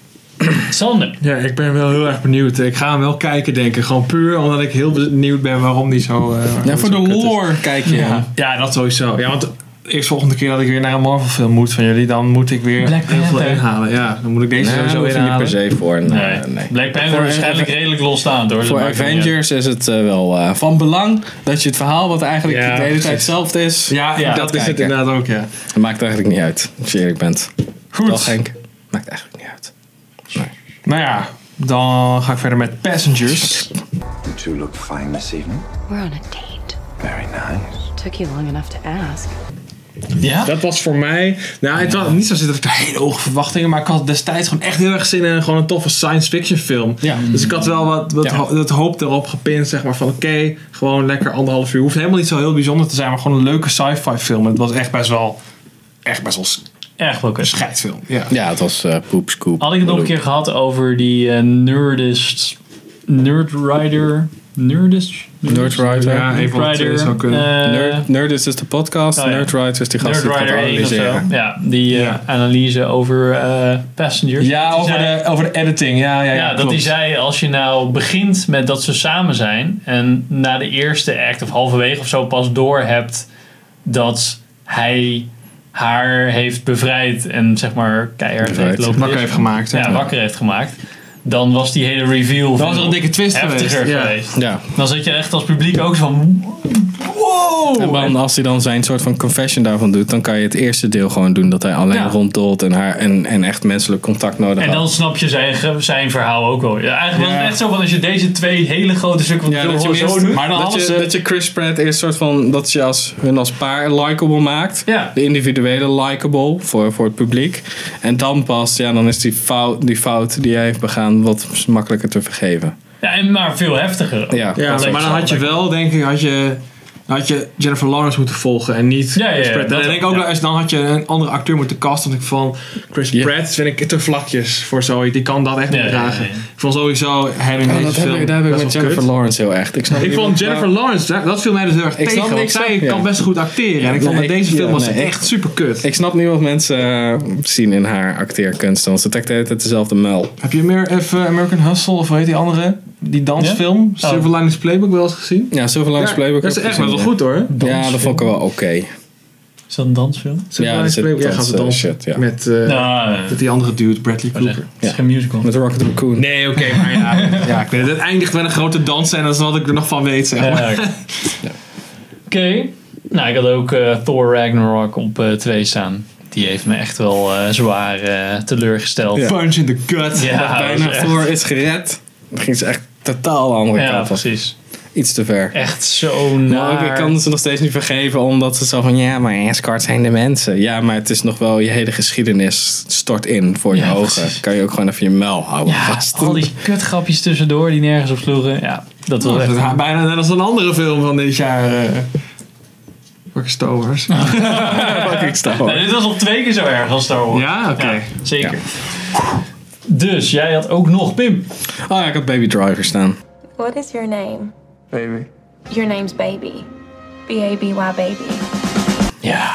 Speaker 1: Sander.
Speaker 2: Ja, ik ben wel heel erg benieuwd. Ik ga hem wel kijken, denk ik. Gewoon puur omdat ik heel benieuwd ben waarom die zo... eh, waarom
Speaker 4: Ja, voor
Speaker 2: die zo
Speaker 4: de
Speaker 2: kut is.
Speaker 4: lore kijk je.
Speaker 2: Ja. ja, dat sowieso. Ja, want eerst volgende keer dat ik weer naar een Marvel film moet van jullie, dan moet ik weer
Speaker 1: Black
Speaker 2: heel veel
Speaker 1: Panther.
Speaker 2: inhalen. Ja, dan moet ik deze
Speaker 4: Nee,
Speaker 2: sowieso
Speaker 4: daar hoef je niet
Speaker 2: inhalen.
Speaker 4: per se voor. Nee,
Speaker 1: Nee.
Speaker 4: nee.
Speaker 1: Black Panther
Speaker 4: Voor- eh,
Speaker 1: waarschijnlijk redelijk losstaand hoor. Dat
Speaker 4: Voor
Speaker 1: maakt niet uit.
Speaker 4: Avengers is het eh, wel eh, van belang dat je het verhaal, wat eigenlijk
Speaker 2: Ja,
Speaker 4: de hele
Speaker 2: precies.
Speaker 4: tijd hetzelfde is,
Speaker 2: Ja,
Speaker 1: Ja,
Speaker 2: dat is
Speaker 4: kijken.
Speaker 2: het inderdaad ook, ja.
Speaker 4: Dat maakt eigenlijk niet uit, als je eerlijk bent.
Speaker 2: Goed.
Speaker 4: Toch Henk? Maakt eigenlijk niet uit.
Speaker 2: Nou ja, dan ga ik verder met Passengers.
Speaker 10: Did you look fine this evening?
Speaker 11: We're on a date.
Speaker 10: Very nice.
Speaker 11: Took you long enough to ask.
Speaker 1: Ja?
Speaker 2: Dat was voor mij... Nou, het was niet zo dat ik daar hele hoge verwachtingen... maar ik had destijds gewoon echt heel erg zin in... gewoon een toffe science fiction film. Dus ik had wel wat, wat ho- dat hoop erop gepind, zeg maar. Van oké, gewoon lekker anderhalf uur. Hoeft helemaal niet zo heel bijzonder te zijn... maar gewoon een leuke sci-fi film. Het was echt best wel... Echt best wel s-
Speaker 1: Erg wel
Speaker 2: een
Speaker 1: kut.
Speaker 2: scheidfilm. Ja.
Speaker 4: Ja, het was eh poep scoop.
Speaker 1: Had ik het nog een
Speaker 4: Bedoel-
Speaker 1: keer gehad over die eh, Nerdist, Nerdrider, Nerdist?
Speaker 4: Nerdwriter.
Speaker 2: Ja, een van de twee zou kunnen.
Speaker 1: eh,
Speaker 4: Nerd, Nerdist is dus de podcast.
Speaker 1: oh ja.
Speaker 4: Nerdwriter is die gast die het gaat
Speaker 1: Nerdrider 1 of zo.
Speaker 4: analyseren.
Speaker 1: Ja, die eh, analyse over eh, Passengers.
Speaker 2: Ja,
Speaker 1: Die
Speaker 2: over
Speaker 1: zei-
Speaker 2: de, over de editing. Ja, ja,
Speaker 1: Ja,
Speaker 2: ja,
Speaker 1: dat hij
Speaker 2: klopt.
Speaker 1: zei, als je nou begint met dat ze samen zijn en na de eerste act of halverwege of zo pas door hebt dat hij haar heeft bevrijd en zeg maar keihard
Speaker 4: Bevrijd.
Speaker 1: heeft lopen
Speaker 2: Wakker
Speaker 1: is-
Speaker 2: heeft gemaakt, hè?
Speaker 1: Ja, wakker heeft gemaakt. Dan was die hele reveal
Speaker 2: was er een dikke twist
Speaker 1: heftiger
Speaker 2: geweest, ja.
Speaker 4: Ja.
Speaker 1: Dan zit je echt als publiek ook zo van wow.
Speaker 4: En dan, als hij dan zijn soort van confession daarvan doet, dan kan je het eerste deel gewoon doen dat hij alleen
Speaker 1: Ja.
Speaker 4: ronddolt en, haar, en, en echt menselijk contact nodig
Speaker 1: En
Speaker 4: had.
Speaker 1: dan snap je zijn, zijn verhaal ook wel. Ja, eigenlijk was
Speaker 4: Ja.
Speaker 1: het echt zo van als je deze twee hele grote stukken van de
Speaker 4: Ja,
Speaker 1: film
Speaker 4: dat je,
Speaker 1: gewoon
Speaker 4: eerst-
Speaker 1: zo doet.
Speaker 4: maar dan dat,
Speaker 1: hadden
Speaker 4: je,
Speaker 1: ze-
Speaker 4: dat je Chris Pratt eerst soort van dat je als, hun als paar likable maakt.
Speaker 1: Ja.
Speaker 4: De individuele likable voor, voor het publiek. En dan pas, ja, dan is die fout die, fout die hij heeft begaan wat makkelijker te vergeven.
Speaker 1: Ja, en maar veel heftiger.
Speaker 4: Ja,
Speaker 2: Ja,
Speaker 1: Dat
Speaker 2: maar
Speaker 1: is
Speaker 2: dan had je wel, denk ik, had je, had je Jennifer Lawrence moeten volgen en niet
Speaker 1: Ja, ja, ja,
Speaker 2: Chris Pratt.
Speaker 1: dat
Speaker 2: En ik denk
Speaker 1: wel,
Speaker 2: ook,
Speaker 1: ja.
Speaker 2: dat als- dan had je een andere acteur moeten casten. Want ik vond Chris
Speaker 4: Ja.
Speaker 2: Pratt vind ik te vlakjes voor zoiets. Die kan dat echt
Speaker 1: Ja,
Speaker 2: niet
Speaker 1: ja, ja,
Speaker 2: dragen.
Speaker 1: ja.
Speaker 2: Ik vond sowieso hem in
Speaker 4: Ja,
Speaker 2: deze
Speaker 4: Oh, dat
Speaker 2: film
Speaker 4: heb ik, daar heb ik
Speaker 2: best
Speaker 4: met
Speaker 2: wel
Speaker 4: Jennifer
Speaker 2: kut.
Speaker 4: Lawrence heel echt. Ik, snap
Speaker 2: Ik
Speaker 4: niet
Speaker 2: vond
Speaker 4: wat-
Speaker 2: Jennifer Lawrence, dat- dat viel mij dus heel erg
Speaker 4: Ik snap
Speaker 2: tegen. Want
Speaker 4: niks
Speaker 2: zij
Speaker 4: van, ja.
Speaker 2: kan best goed acteren. En ik vond
Speaker 4: Nee,
Speaker 2: dat deze
Speaker 4: ik-
Speaker 2: film
Speaker 4: ja,
Speaker 2: was
Speaker 4: nee,
Speaker 2: echt super kut.
Speaker 4: ik snap niet wat mensen eh, zien in haar acteerkunst. Want ze trekt de hele tijd dezelfde muil.
Speaker 2: Heb je meer even American Hustle of hoe heet die andere? Die dansfilm,
Speaker 1: Ja? Oh.
Speaker 2: Silver Linings Playbook wel eens gezien?
Speaker 4: Ja, Silver Linings
Speaker 2: Ja,
Speaker 4: Playbook.
Speaker 2: Dat is
Speaker 4: heb ik
Speaker 2: echt wel
Speaker 4: gezien,
Speaker 2: goed hoor.
Speaker 4: ja. Ja, dat vond ik wel oké.
Speaker 1: Is dat een dansfilm?
Speaker 2: Silver
Speaker 4: Ja,
Speaker 2: Linings
Speaker 4: dat
Speaker 2: Playbook,
Speaker 4: is-
Speaker 2: ja, gaan ze
Speaker 4: dat is,
Speaker 2: dansen.
Speaker 4: eh, shit, ja. Oh,
Speaker 2: Met eh,
Speaker 1: Nou, eh,
Speaker 2: met die andere dude, Bradley
Speaker 1: het
Speaker 2: Cooper.
Speaker 1: is geen musical.
Speaker 4: Met Rocket Raccoon.
Speaker 2: Nee, oké, maar ja. ja ik weet het. het eindigt met een grote dans en dat is wat ik er nog van weet, zeg
Speaker 1: Ja,
Speaker 2: maar.
Speaker 1: ja. Oké. Nou, ik had ook eh, Thor Ragnarok op 2 staan. Die heeft me echt wel eh, zwaar eh, teleurgesteld. Ja,
Speaker 2: Punch in the gut.
Speaker 1: dat
Speaker 4: Bijna
Speaker 1: was echt-
Speaker 4: voor is gered. Dan ging ze echt totaal de andere
Speaker 1: Ja,
Speaker 4: kant op.
Speaker 1: precies.
Speaker 4: Iets te ver.
Speaker 1: Echt zo
Speaker 4: Maar ook,
Speaker 1: naar.
Speaker 4: Nou, ik kan ze nog steeds niet vergeven, omdat ze zo van ja, maar escorts zijn de mensen. Ja, maar het is nog wel je hele geschiedenis stort in voor je
Speaker 1: Ja,
Speaker 4: ogen.
Speaker 1: precies.
Speaker 4: Kan je ook gewoon even je muil houden
Speaker 1: ja,
Speaker 4: vast.
Speaker 1: al die kutgrapjes tussendoor die nergens op sloegen. Ja, dat was
Speaker 2: Dat
Speaker 1: echt...
Speaker 2: is haar bijna net als een andere film van dit jaar. eh Fucking Star Wars.
Speaker 4: fucking Star Wars.
Speaker 1: Nou, dit was al twee keer zo erg als Star Wars.
Speaker 2: Ja, oké.
Speaker 1: zeker. Dus, jij had ook nog Pim.
Speaker 4: Oh ja, ik had Baby Driver staan.
Speaker 13: What is your name?
Speaker 2: Baby.
Speaker 13: Your name's Baby. B A B Y baby.
Speaker 1: Ja.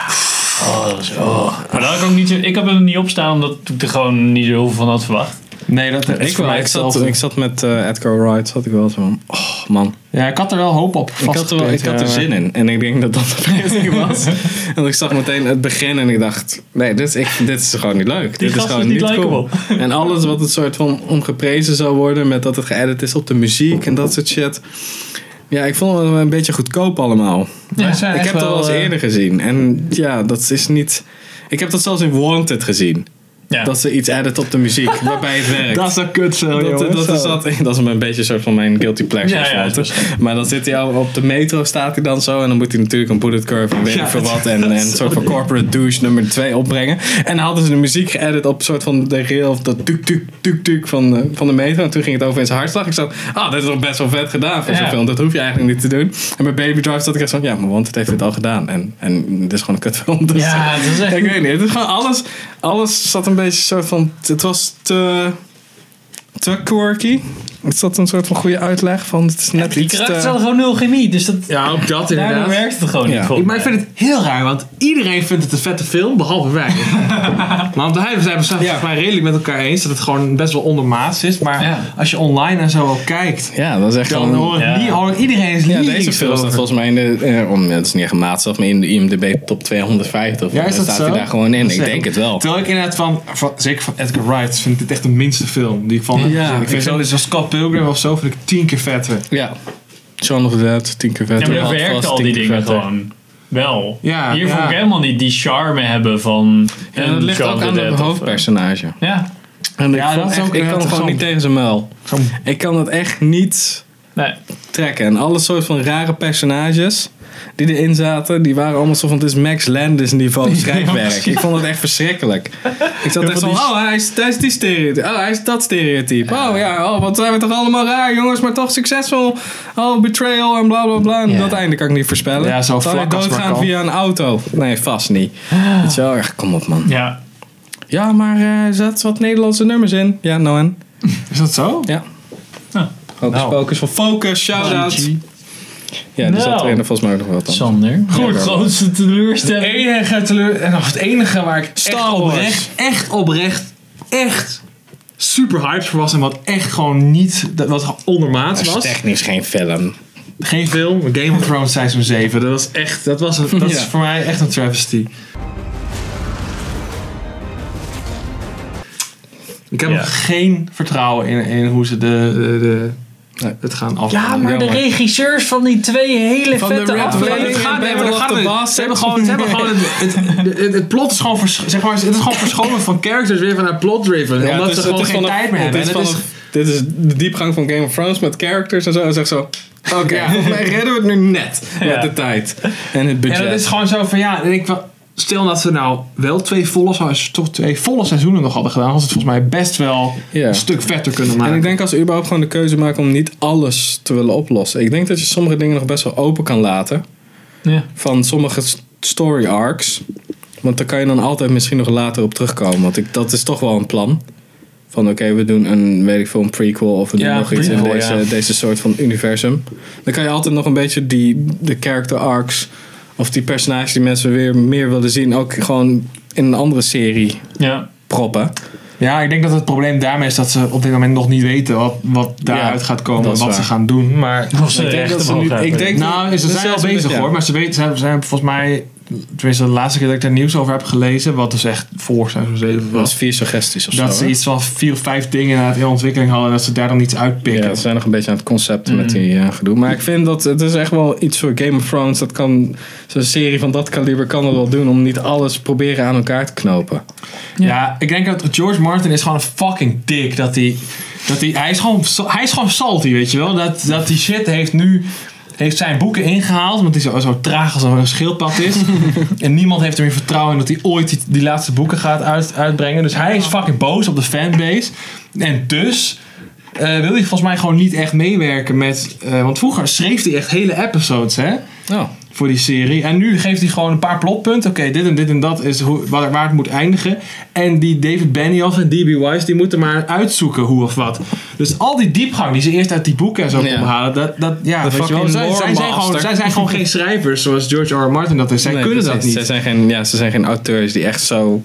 Speaker 1: Oh, dat is... Oh. Maar dat had ik ook niet... zo- Ik heb hem er niet op staan, omdat ik er gewoon niet zo heel veel van had verwacht.
Speaker 2: Nee, dat heb
Speaker 4: Ik, wel, ik, zat,
Speaker 2: hetzelfde.
Speaker 4: ik zat met eh, Edgar Wright, zat ik wel zo van, oh man.
Speaker 2: Ja, ik had er wel hoop op.
Speaker 4: Ik had, er wel, ik had
Speaker 2: eh,
Speaker 4: er zin in en ik denk dat dat de vergissing was. Want ik zag meteen het begin en ik dacht, nee, dit is, ik, dit is gewoon niet leuk. dit
Speaker 1: gast
Speaker 4: gewoon
Speaker 1: is niet
Speaker 4: cool. En alles wat het soort van omgeprezen zou worden met dat het geëdit is op de muziek en dat soort shit. Ja, ik vond het een beetje goedkoop allemaal.
Speaker 2: eh,
Speaker 4: ik
Speaker 1: eh,
Speaker 4: heb dat wel eens eerder gezien en ja, dat is niet... Ik heb dat zelfs in Wanted gezien. Dat ze iets edit op de muziek, waarbij het werkt.
Speaker 2: Dat is een kutsel,
Speaker 4: dat,
Speaker 2: jongen.
Speaker 4: dat, is,
Speaker 2: Zo.
Speaker 4: dat, dat is een beetje een soort van mijn guilty pleasure.
Speaker 2: Ja, ja,
Speaker 4: of zo. maar dan zit hij al op de metro, staat hij dan zo. En dan moet hij natuurlijk een bullet curve en weet
Speaker 2: Ja,
Speaker 4: ik veel
Speaker 2: dat-
Speaker 4: wat. En, en
Speaker 2: dat
Speaker 4: een
Speaker 2: is
Speaker 4: soort van
Speaker 2: zo-
Speaker 4: corporate douche nummer 2 opbrengen. En dan hadden ze de muziek geëdit op een soort van de rail of dat tuk tuk tuk tuk van de, van de metro. En toen ging het over in zijn hartslag. Ik zat, ah, dit is nog best wel vet gedaan voor
Speaker 2: Ja.
Speaker 4: zo'n film. Dat hoef je eigenlijk niet te doen. En bij Baby Drive zat ik echt van, ja, maar want het heeft dit al gedaan. En, en het is gewoon een kutfilm. Dus
Speaker 2: Ja, dat is echt-
Speaker 4: Ik weet niet, het is gewoon alles, alles zat een beetje zo van, het was te te quirky. Is dat een soort van goede uitleg? Van het is net
Speaker 1: Die
Speaker 4: iets
Speaker 1: karakters
Speaker 4: te-
Speaker 1: hadden gewoon nul chemie, dus dat...
Speaker 2: Ja, ook dat
Speaker 1: Daardoor
Speaker 2: inderdaad.
Speaker 1: werkt het gewoon niet,
Speaker 2: Ja.
Speaker 1: volgens
Speaker 2: Maar ik vind het heel raar, want iedereen vindt het een vette film, behalve wij. want wij zijn het volgens mij redelijk met elkaar eens dat het gewoon best wel ondermaats is. Maar als je online en zo al kijkt,
Speaker 4: ja, dat is echt
Speaker 2: dan
Speaker 4: gewoon-
Speaker 2: hoor ik
Speaker 4: Ja.
Speaker 2: niet- hoor ik iedereen is
Speaker 4: Ja,
Speaker 2: lyrisch
Speaker 4: deze film
Speaker 2: over.
Speaker 4: staat volgens mij in de, eh, om, het is niet echt een maatstaf, maar in de IMDb top 250.
Speaker 2: Ja, is dat
Speaker 4: Daar staat
Speaker 2: zo?
Speaker 4: hij daar gewoon in.
Speaker 2: Dat
Speaker 4: Ik
Speaker 2: is
Speaker 4: denk
Speaker 2: echt-
Speaker 4: het wel.
Speaker 2: Terwijl ik inderdaad van, van- zeker van Edgar Wright, vind ik dit echt de minste film die ik van heb
Speaker 4: Ja,
Speaker 2: gezien.
Speaker 4: ik
Speaker 2: Ik vind
Speaker 4: vind-
Speaker 2: zo, zoals Scott Pilgrim of zo, vind ik tien keer vetter.
Speaker 4: Ja. Shaun of the Dead, tien keer
Speaker 1: Ja,
Speaker 4: vetter.
Speaker 1: maar dat werkt al die dingen gewoon wel.
Speaker 4: Ja,
Speaker 1: Hier voel
Speaker 4: ja.
Speaker 1: ik helemaal niet die charme hebben van...
Speaker 4: En dat ligt ook aan het hoofdpersonage.
Speaker 1: eh, Ja.
Speaker 4: En ik,
Speaker 1: Ja,
Speaker 4: vond
Speaker 1: dat is
Speaker 4: echt-
Speaker 1: ook-
Speaker 4: ik
Speaker 1: dat
Speaker 4: kan
Speaker 1: is
Speaker 4: gewoon
Speaker 1: zo'n-
Speaker 4: niet tegen zijn muil. Ik kan dat echt niet trekken. En alle soort van rare personages die erin zaten, die waren allemaal zo van het is Max Landis niveau schrijfwerk.
Speaker 2: precies.
Speaker 4: ik vond het echt verschrikkelijk. Ik zat
Speaker 2: Ja,
Speaker 4: echt
Speaker 2: van
Speaker 4: zo
Speaker 2: die-
Speaker 4: oh hij is, hij is die stereotype. Oh hij is dat stereotype. Oh ja, oh wat zijn we toch allemaal raar jongens, maar toch succesvol. Oh betrayal en bla bla bla. En Dat einde kan ik niet voorspellen.
Speaker 2: Ja, zo
Speaker 4: Zal hij
Speaker 2: vlak als maar
Speaker 4: doodgaan
Speaker 2: kan.
Speaker 4: via een auto? Nee, vast niet. Het is wel echt, kom op man.
Speaker 1: Ja.
Speaker 4: Ja, maar eh, er zaten wat Nederlandse nummers in. Ja, nou en.
Speaker 2: Is dat zo? Ah.
Speaker 4: Ja.
Speaker 1: Nou.
Speaker 4: Focus, focus van Focus, shout-out. Ja, die
Speaker 2: Nou.
Speaker 4: zat erin volgens mij ook nog wel. Dan.
Speaker 1: Sander.
Speaker 2: Goed, grootste
Speaker 1: teleurstelling.
Speaker 2: Het enige, teleur, en nog het enige waar ik echt oprecht, echt oprecht, echt super hyped voor was. En wat echt gewoon niet, dat wat gewoon ondermaats
Speaker 4: Dat is
Speaker 2: was.
Speaker 4: technisch geen film.
Speaker 2: Geen film, maar Game of Thrones seizoen 7. Dat was echt, dat was een, dat is
Speaker 4: Ja.
Speaker 2: voor mij echt een travesty. Ik heb
Speaker 1: Ja.
Speaker 2: nog geen vertrouwen in, in hoe ze de, de, de- het gaan afleggen.
Speaker 1: Ja, maar de regisseurs van die twee hele
Speaker 2: Van de
Speaker 1: vette
Speaker 2: Red
Speaker 1: afleveringen-
Speaker 2: Wedding
Speaker 1: Nee, maar
Speaker 2: en Battle
Speaker 1: dat
Speaker 2: of
Speaker 1: gaat
Speaker 2: the
Speaker 1: niet.
Speaker 2: Bastards. Ze hebben gewoon, ze hebben gewoon het, het, het, het plot is gewoon, vers, zeg maar, het is gewoon verscholen van characters weer vanuit plot driven.
Speaker 4: Ja,
Speaker 2: omdat
Speaker 4: het is-
Speaker 2: ze
Speaker 4: het
Speaker 2: gewoon
Speaker 4: is
Speaker 2: geen
Speaker 4: vanaf-
Speaker 2: tijd meer
Speaker 4: het
Speaker 2: hebben.
Speaker 4: is
Speaker 2: En het is-
Speaker 4: vanaf- Dit is de diepgang van Game of Thrones met characters en zo. En zeg zo. Oké, volgens mij redden we het nu net
Speaker 2: Ja.
Speaker 4: met de tijd en het budget.
Speaker 2: En dat is gewoon zo van ja, dan denk ik wel, stel dat ze nou wel twee volle, se- toch twee volle seizoenen nog hadden gedaan, was het volgens mij best wel een stuk vetter kunnen maken.
Speaker 4: En ik denk als ze überhaupt gewoon de keuze maken om niet alles te willen oplossen. Ik denk dat je sommige dingen nog best wel open kan laten.
Speaker 1: Ja.
Speaker 4: Van sommige s- story arcs. Want daar kan je dan altijd misschien nog later op terugkomen. Want ik, dat is toch wel een plan. Van oké, we doen een, weet ik veel, een prequel of we doen
Speaker 2: Ja,
Speaker 4: nog iets in
Speaker 2: prequel,
Speaker 4: deze,
Speaker 2: ja.
Speaker 4: deze soort van universum. Dan kan je altijd nog een beetje die, de character arcs of die personages die mensen weer meer willen zien ook gewoon in een andere serie
Speaker 1: Ja.
Speaker 4: proppen.
Speaker 2: Ja, ik denk dat het probleem daarmee is dat ze op dit moment nog niet weten wat, wat daaruit gaat komen,
Speaker 4: dat
Speaker 2: wat
Speaker 4: is
Speaker 2: ze
Speaker 4: waar.
Speaker 2: gaan doen. Maar
Speaker 4: Of ze Ik denk rechten dat ze nu- omhoog hebben. ik denk
Speaker 2: nou,
Speaker 4: dat-
Speaker 2: ze
Speaker 4: dat
Speaker 2: zijn al
Speaker 4: zijn ze
Speaker 2: bezig
Speaker 4: met- ja.
Speaker 2: hoor, maar ze weten, ze hebben- ze hebben volgens mij, tenminste de laatste keer dat ik daar nieuws over heb gelezen, wat dus echt voor seizoen 7
Speaker 4: Dat was
Speaker 2: was.
Speaker 4: vier suggesties of zo.
Speaker 2: Dat ze
Speaker 4: hè?
Speaker 2: iets van vier of vijf dingen inderdaad in ontwikkeling hadden en dat ze daar dan iets uitpikken.
Speaker 4: Ja, we zijn nog een beetje aan het concept
Speaker 2: Mm.
Speaker 4: met die eh, gedoe. Maar ik vind dat het is echt wel iets voor Game of Thrones. Dat kan zo'n serie van dat kaliber kan dat wel doen om niet alles proberen aan elkaar te knopen.
Speaker 2: Ja. ik denk dat George Martin is gewoon een fucking dik. Dat hij, dat hij, hij, is gewoon, sa- hij is gewoon salty, weet je wel. Dat, dat die shit heeft nu heeft zijn boeken ingehaald, want hij zo, zo traag als een schildpad is. en niemand heeft er meer vertrouwen in dat hij ooit die, die laatste boeken gaat uit, uitbrengen. Dus hij is fucking boos op de fanbase. En dus eh, wil hij volgens mij gewoon niet echt meewerken met... eh, want vroeger schreef hij echt hele episodes, hè? Voor die serie. En nu geeft hij gewoon een paar plotpunten. Oké, dit en dit en dat is hoe, waar, waar het moet eindigen. En die David Benioff en D.B. Wise, die moeten maar uitzoeken hoe of wat. Dus al die diepgang die ze eerst uit die boeken en zo konden halen. Dat, dat, ja,
Speaker 4: De
Speaker 2: weet je wel.
Speaker 4: fucking
Speaker 2: Zij,
Speaker 4: lore
Speaker 2: zij zijn gewoon,
Speaker 4: master.
Speaker 2: zij zijn gewoon geen schrijvers zoals George R. R. Martin dat is. Zij
Speaker 4: Nee,
Speaker 2: kunnen
Speaker 4: precies.
Speaker 2: dat niet.
Speaker 4: Ze zijn geen, ja, ze zijn geen auteurs die echt zo.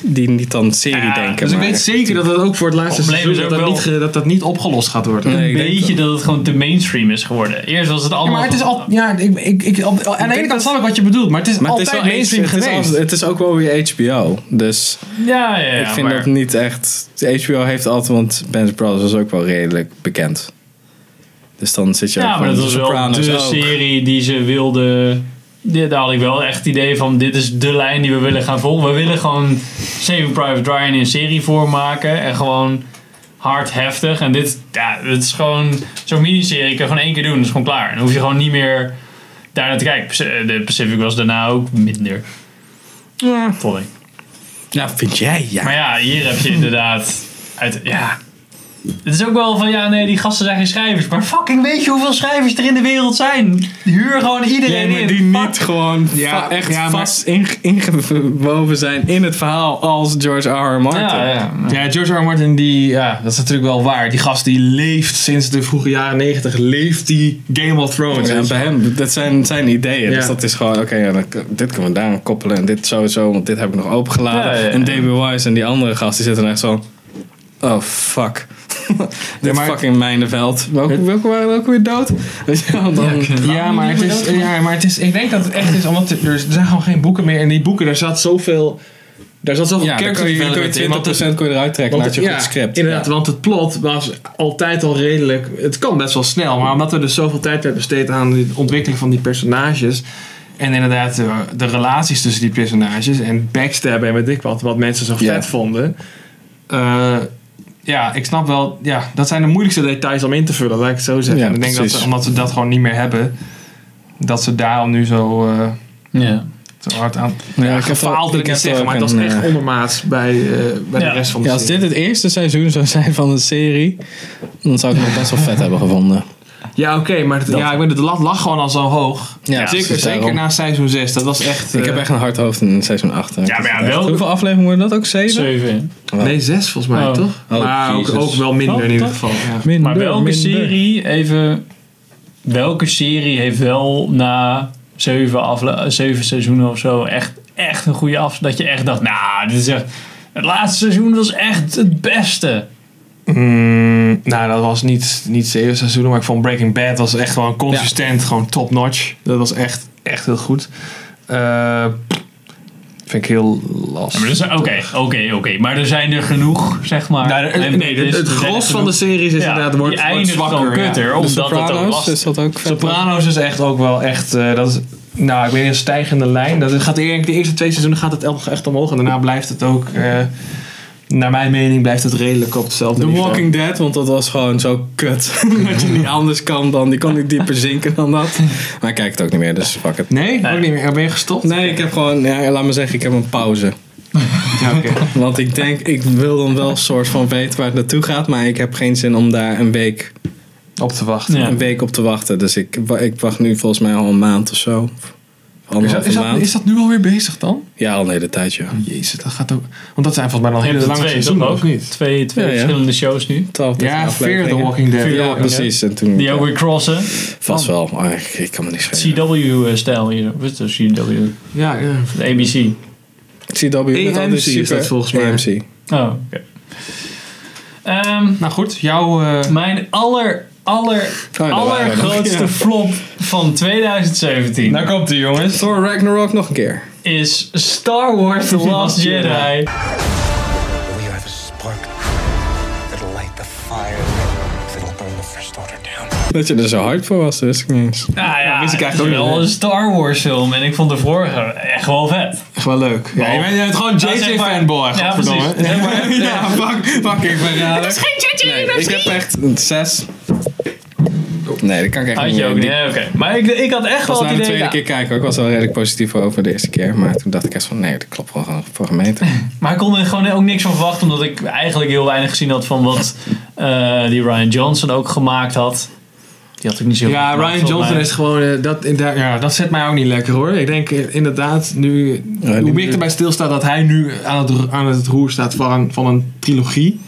Speaker 4: die niet aan serie denken.
Speaker 2: dus ik
Speaker 4: maar
Speaker 2: weet
Speaker 4: echt-
Speaker 2: zeker dat dat ook voor het laatste
Speaker 1: Probleem
Speaker 2: seizoen
Speaker 1: is
Speaker 2: dat
Speaker 1: ook
Speaker 2: dat,
Speaker 1: wel-
Speaker 2: niet, ge- dat dat niet opgelost gaat worden.
Speaker 1: Een beetje dat het gewoon te mainstream is geworden. Eerst was het
Speaker 2: Ja,
Speaker 1: allemaal...
Speaker 2: maar het is al, ja, ik, ik, ik, op- aan de ene kant snap ik wat je bedoelt, maar het is
Speaker 4: Maar het
Speaker 2: altijd
Speaker 4: is, wel
Speaker 2: mainstream
Speaker 4: mainstream, het, is
Speaker 2: geweest.
Speaker 4: altijd- het is ook wel weer HBO. Dus
Speaker 1: Ja, ja, ja,
Speaker 4: ik vind
Speaker 1: maar-
Speaker 4: dat niet echt. HBO heeft altijd, want Ben's Brothers was ook wel redelijk bekend. Dus dan zit je
Speaker 1: Ja,
Speaker 4: ook
Speaker 1: maar
Speaker 4: gewoon
Speaker 1: dat was
Speaker 4: de
Speaker 1: wel
Speaker 4: Sopranos
Speaker 1: de
Speaker 4: ook.
Speaker 1: serie die ze wilden dit, daar had ik wel echt het idee van, dit is de lijn die we willen gaan volgen. We willen gewoon Saving Private Ryan in serievorm maken en gewoon hard heftig. En dit, ja, het is gewoon zo'n miniserie, kan je gewoon één keer doen, dat is gewoon klaar. Dan hoef je gewoon niet meer daar naar te kijken. Paci- De Pacific was daarna ook minder.
Speaker 4: Ja.
Speaker 1: Vond ik.
Speaker 4: Ja, vind jij, ja.
Speaker 1: Maar ja, hier heb je inderdaad. Uit, ja. Het is ook wel van ja, nee, die gasten zijn geen schrijvers. Maar fucking weet je hoeveel schrijvers er in de wereld zijn? Huur gewoon iedereen
Speaker 4: Nee,
Speaker 1: in.
Speaker 4: maar die niet gewoon
Speaker 1: Ja,
Speaker 4: va- echt
Speaker 1: ja, maar-
Speaker 4: vast inge- ingewoven zijn in het verhaal als George R. R. Martin.
Speaker 2: Ja, ja. ja, George R. R. Martin, die, ja, dat is natuurlijk wel waar. Die gast die leeft sinds de vroege jaren negentig, leeft die Game of Thrones.
Speaker 4: Ja,
Speaker 2: weet je
Speaker 4: bij
Speaker 2: wel.
Speaker 4: hem, dat zijn zijn ideeën.
Speaker 2: Ja.
Speaker 4: Dus dat is gewoon, oké, ja, dan k- dit kunnen we daaraan koppelen. En dit sowieso, want dit heb ik nog opengeladen.
Speaker 2: Ja, ja, ja.
Speaker 4: En DB Wise en die andere gast, die zitten echt zo... Oh, fuck. dit fucking mijnenveld. Welke, welke waren ook weer dood? Weet je wel, dan...
Speaker 2: Ja, maar, het is, ja, maar het is, ik denk dat het echt is, omdat er, er zijn gewoon geen boeken meer. En die boeken, daar zat zoveel, daar zat zoveel
Speaker 4: Ja, dan
Speaker 2: character
Speaker 4: kun je, kun
Speaker 2: development in, want het-
Speaker 4: je 20% kon je eruit trekken
Speaker 2: Want
Speaker 4: laat je
Speaker 2: het-
Speaker 4: goed script.
Speaker 2: Inderdaad, want het plot was altijd al redelijk. Het kan best wel snel, maar omdat er dus zoveel tijd werd besteed aan de ontwikkeling van die personages. En inderdaad, de, de relaties tussen die personages en backstabben en weet ik wat, wat mensen zo vet vonden. Eh, ja, ik snap wel, ja, dat zijn de moeilijkste details om in te vullen, laat ik het zo zeggen.
Speaker 4: Ja,
Speaker 2: ik denk dat
Speaker 4: precies.
Speaker 2: ze, omdat ze dat gewoon niet meer hebben, dat ze daarom nu zo, eh,
Speaker 1: Ja.
Speaker 2: zo hard aan.
Speaker 4: Ja,
Speaker 2: Ja,
Speaker 4: ik heb
Speaker 2: gefaald
Speaker 4: ook-
Speaker 2: wil
Speaker 4: ik
Speaker 2: ik niet
Speaker 4: heb
Speaker 2: zeggen,
Speaker 4: ook
Speaker 2: maar dat is
Speaker 4: een,
Speaker 2: echt
Speaker 4: eh,
Speaker 2: ondermaats bij, eh, bij de rest van de
Speaker 4: ja, als
Speaker 2: serie.
Speaker 4: dit het eerste seizoen zou zijn van een serie, dan zou ik het nog best wel vet hebben gevonden.
Speaker 2: Ja, oké, maar het, ja, ik ben, het lat lag gewoon al zo hoog.
Speaker 4: Ja,
Speaker 2: zeker,
Speaker 4: precies
Speaker 2: zeker
Speaker 4: daarom.
Speaker 2: na seizoen 6. Dat was echt. eh,
Speaker 4: ik heb echt een hard hoofd in seizoen 8.
Speaker 2: Ja, maar ja, wel-
Speaker 4: Hoeveel afleveringen worden dat ook? 7?
Speaker 1: Zeven.
Speaker 2: Nee, 6 volgens mij,
Speaker 1: Oh.
Speaker 2: toch?
Speaker 1: Oh,
Speaker 2: maar ook,
Speaker 1: Jezus.
Speaker 2: ook wel minder in ieder
Speaker 1: Toch?
Speaker 2: geval. Ja.
Speaker 1: maar welke serie, even. Welke serie heeft wel na zeven, afle- zeven seizoenen of zo echt, echt een goede af? Dat je echt dacht, nou, dit is echt. Het laatste seizoen was echt het beste.
Speaker 2: Mm, nou, dat was niet, niet 7 seizoenen, maar ik vond Breaking Bad was echt gewoon consistent, gewoon top notch. Dat was echt, echt heel goed. Eh, vind ik heel
Speaker 1: Ja,
Speaker 2: lastig.
Speaker 1: maar er zijn- Oké, oké, oké. Maar er zijn er genoeg, zeg maar.
Speaker 2: Nou, er-
Speaker 1: En
Speaker 2: nee,
Speaker 1: dit
Speaker 2: het,
Speaker 1: is
Speaker 2: het
Speaker 1: net
Speaker 2: gros van
Speaker 1: genoeg.
Speaker 2: de series is
Speaker 1: Ja,
Speaker 2: inderdaad wordt,
Speaker 1: die
Speaker 2: wordt
Speaker 1: eindigt
Speaker 2: zwakker.
Speaker 1: gewoon kutter,
Speaker 2: ja. Dus
Speaker 1: omdat het ook lastig is.
Speaker 4: dat ook
Speaker 2: Sopranos is echt ook wel echt. eh, dat is, nou, ik weet niet, een stijgende lijn. Dat gaat, de eerste twee seizoenen gaat het elke echt omhoog. En daarna blijft het ook. eh, naar mijn mening blijft het redelijk op hetzelfde
Speaker 4: The
Speaker 2: niveau.
Speaker 4: Walking Dead, want dat was gewoon zo kut. dat je niet anders kan dan. Die kon niet dieper zinken dan dat. Maar ik kijk het ook niet meer, dus fuck het.
Speaker 2: Nee, ook niet meer. Ben je gestopt?
Speaker 4: Nee, ik heb gewoon, ja, laat me zeggen, ik heb een pauze.
Speaker 2: Ja, oké.
Speaker 4: Want ik denk, ik wil dan wel een soort van weten waar het naartoe gaat, maar ik heb geen zin om daar een week
Speaker 2: op te wachten.
Speaker 4: Een week op te wachten. Dus ik, wa- ik wacht nu volgens mij al een maand of zo. Of
Speaker 2: Is dat,
Speaker 4: Anderhalve
Speaker 2: is, dat,
Speaker 4: maand.
Speaker 2: is dat nu alweer bezig dan?
Speaker 4: Ja, al een hele tijd, ja.
Speaker 2: Jezus, dat gaat ook. Want dat zijn volgens mij dan
Speaker 1: Je
Speaker 2: hele
Speaker 1: hebt er
Speaker 2: lange
Speaker 1: twee,
Speaker 2: seizoenen,
Speaker 1: toch
Speaker 2: of
Speaker 1: ook?
Speaker 2: niet?
Speaker 1: Twee, twee
Speaker 2: Ja, ja.
Speaker 1: verschillende shows nu.
Speaker 2: Ja, Fear the Walking Dead.
Speaker 4: Ja, precies. En toen,
Speaker 1: Die ook weer crossen.
Speaker 4: Vast wel, maar ik, ik kan me niet schelen.
Speaker 1: CW-stijl hier. Wat is dat, CW?
Speaker 2: Ja, ja.
Speaker 1: De ABC.
Speaker 4: CW, dat is,
Speaker 2: AMC is dat volgens mij.
Speaker 4: AMC.
Speaker 1: Oh, oké. Ehm,
Speaker 2: nou goed, jouw...
Speaker 1: Mijn aller, aller,
Speaker 2: Nou,
Speaker 4: daar waren we nog.
Speaker 1: allergrootste
Speaker 4: Ja.
Speaker 1: flop van 2017
Speaker 2: Daar komt ie, jongens.
Speaker 4: Thor Ragnarok nog een keer.
Speaker 1: is Star Wars The Last Jedi.
Speaker 10: Will you have a spark that'll light the fire that'll burn the First Order down?
Speaker 4: Dat je er zo hard voor was, dat wist ik niet eens.
Speaker 1: Nou ja,
Speaker 2: wist ik eigenlijk
Speaker 1: het is
Speaker 2: ook niet,
Speaker 1: wel
Speaker 2: hè.
Speaker 1: een Star Wars film en ik vond de vorige echt wel vet.
Speaker 2: Echt wel leuk. Ja, je bent- je bent gewoon
Speaker 1: Nou, zeg maar-
Speaker 2: JJ-fanboy,
Speaker 1: Ja,
Speaker 2: godverdomme.
Speaker 1: precies. Zeg maar-
Speaker 2: Ja, fuck, fuck, ik ben raar.
Speaker 4: Nee, ik heb echt een 6. Nee, dat kan ik echt
Speaker 1: Had
Speaker 4: niet
Speaker 1: je ook
Speaker 4: meer.
Speaker 1: niet, hè? oké. Maar ik, ik had echt
Speaker 4: Pas
Speaker 1: wel
Speaker 4: na
Speaker 1: het
Speaker 4: de
Speaker 1: idee...
Speaker 4: tweede
Speaker 1: ja,
Speaker 4: keer kijken, ook was wel redelijk positief over de eerste keer. Maar toen dacht ik echt van, nee, dat klopt wel gewoon voor gemeten.
Speaker 1: Maar ik kon er gewoon ook niks van verwachten, omdat ik eigenlijk heel weinig gezien had van wat eh, die Ryan Johnson ook gemaakt had. Die had ik niet zo heel
Speaker 2: Ja,
Speaker 1: veel
Speaker 2: Ryan
Speaker 1: gemaakt, volgens
Speaker 2: Johnson
Speaker 1: mij.
Speaker 2: is gewoon. eh, dat, in daar- ja, dat zet mij ook niet lekker hoor. Ik denk eh, inderdaad, nu, hoe meer ik erbij stilsta dat hij nu aan het, ro- aan het roer staat van, een- van een trilogie.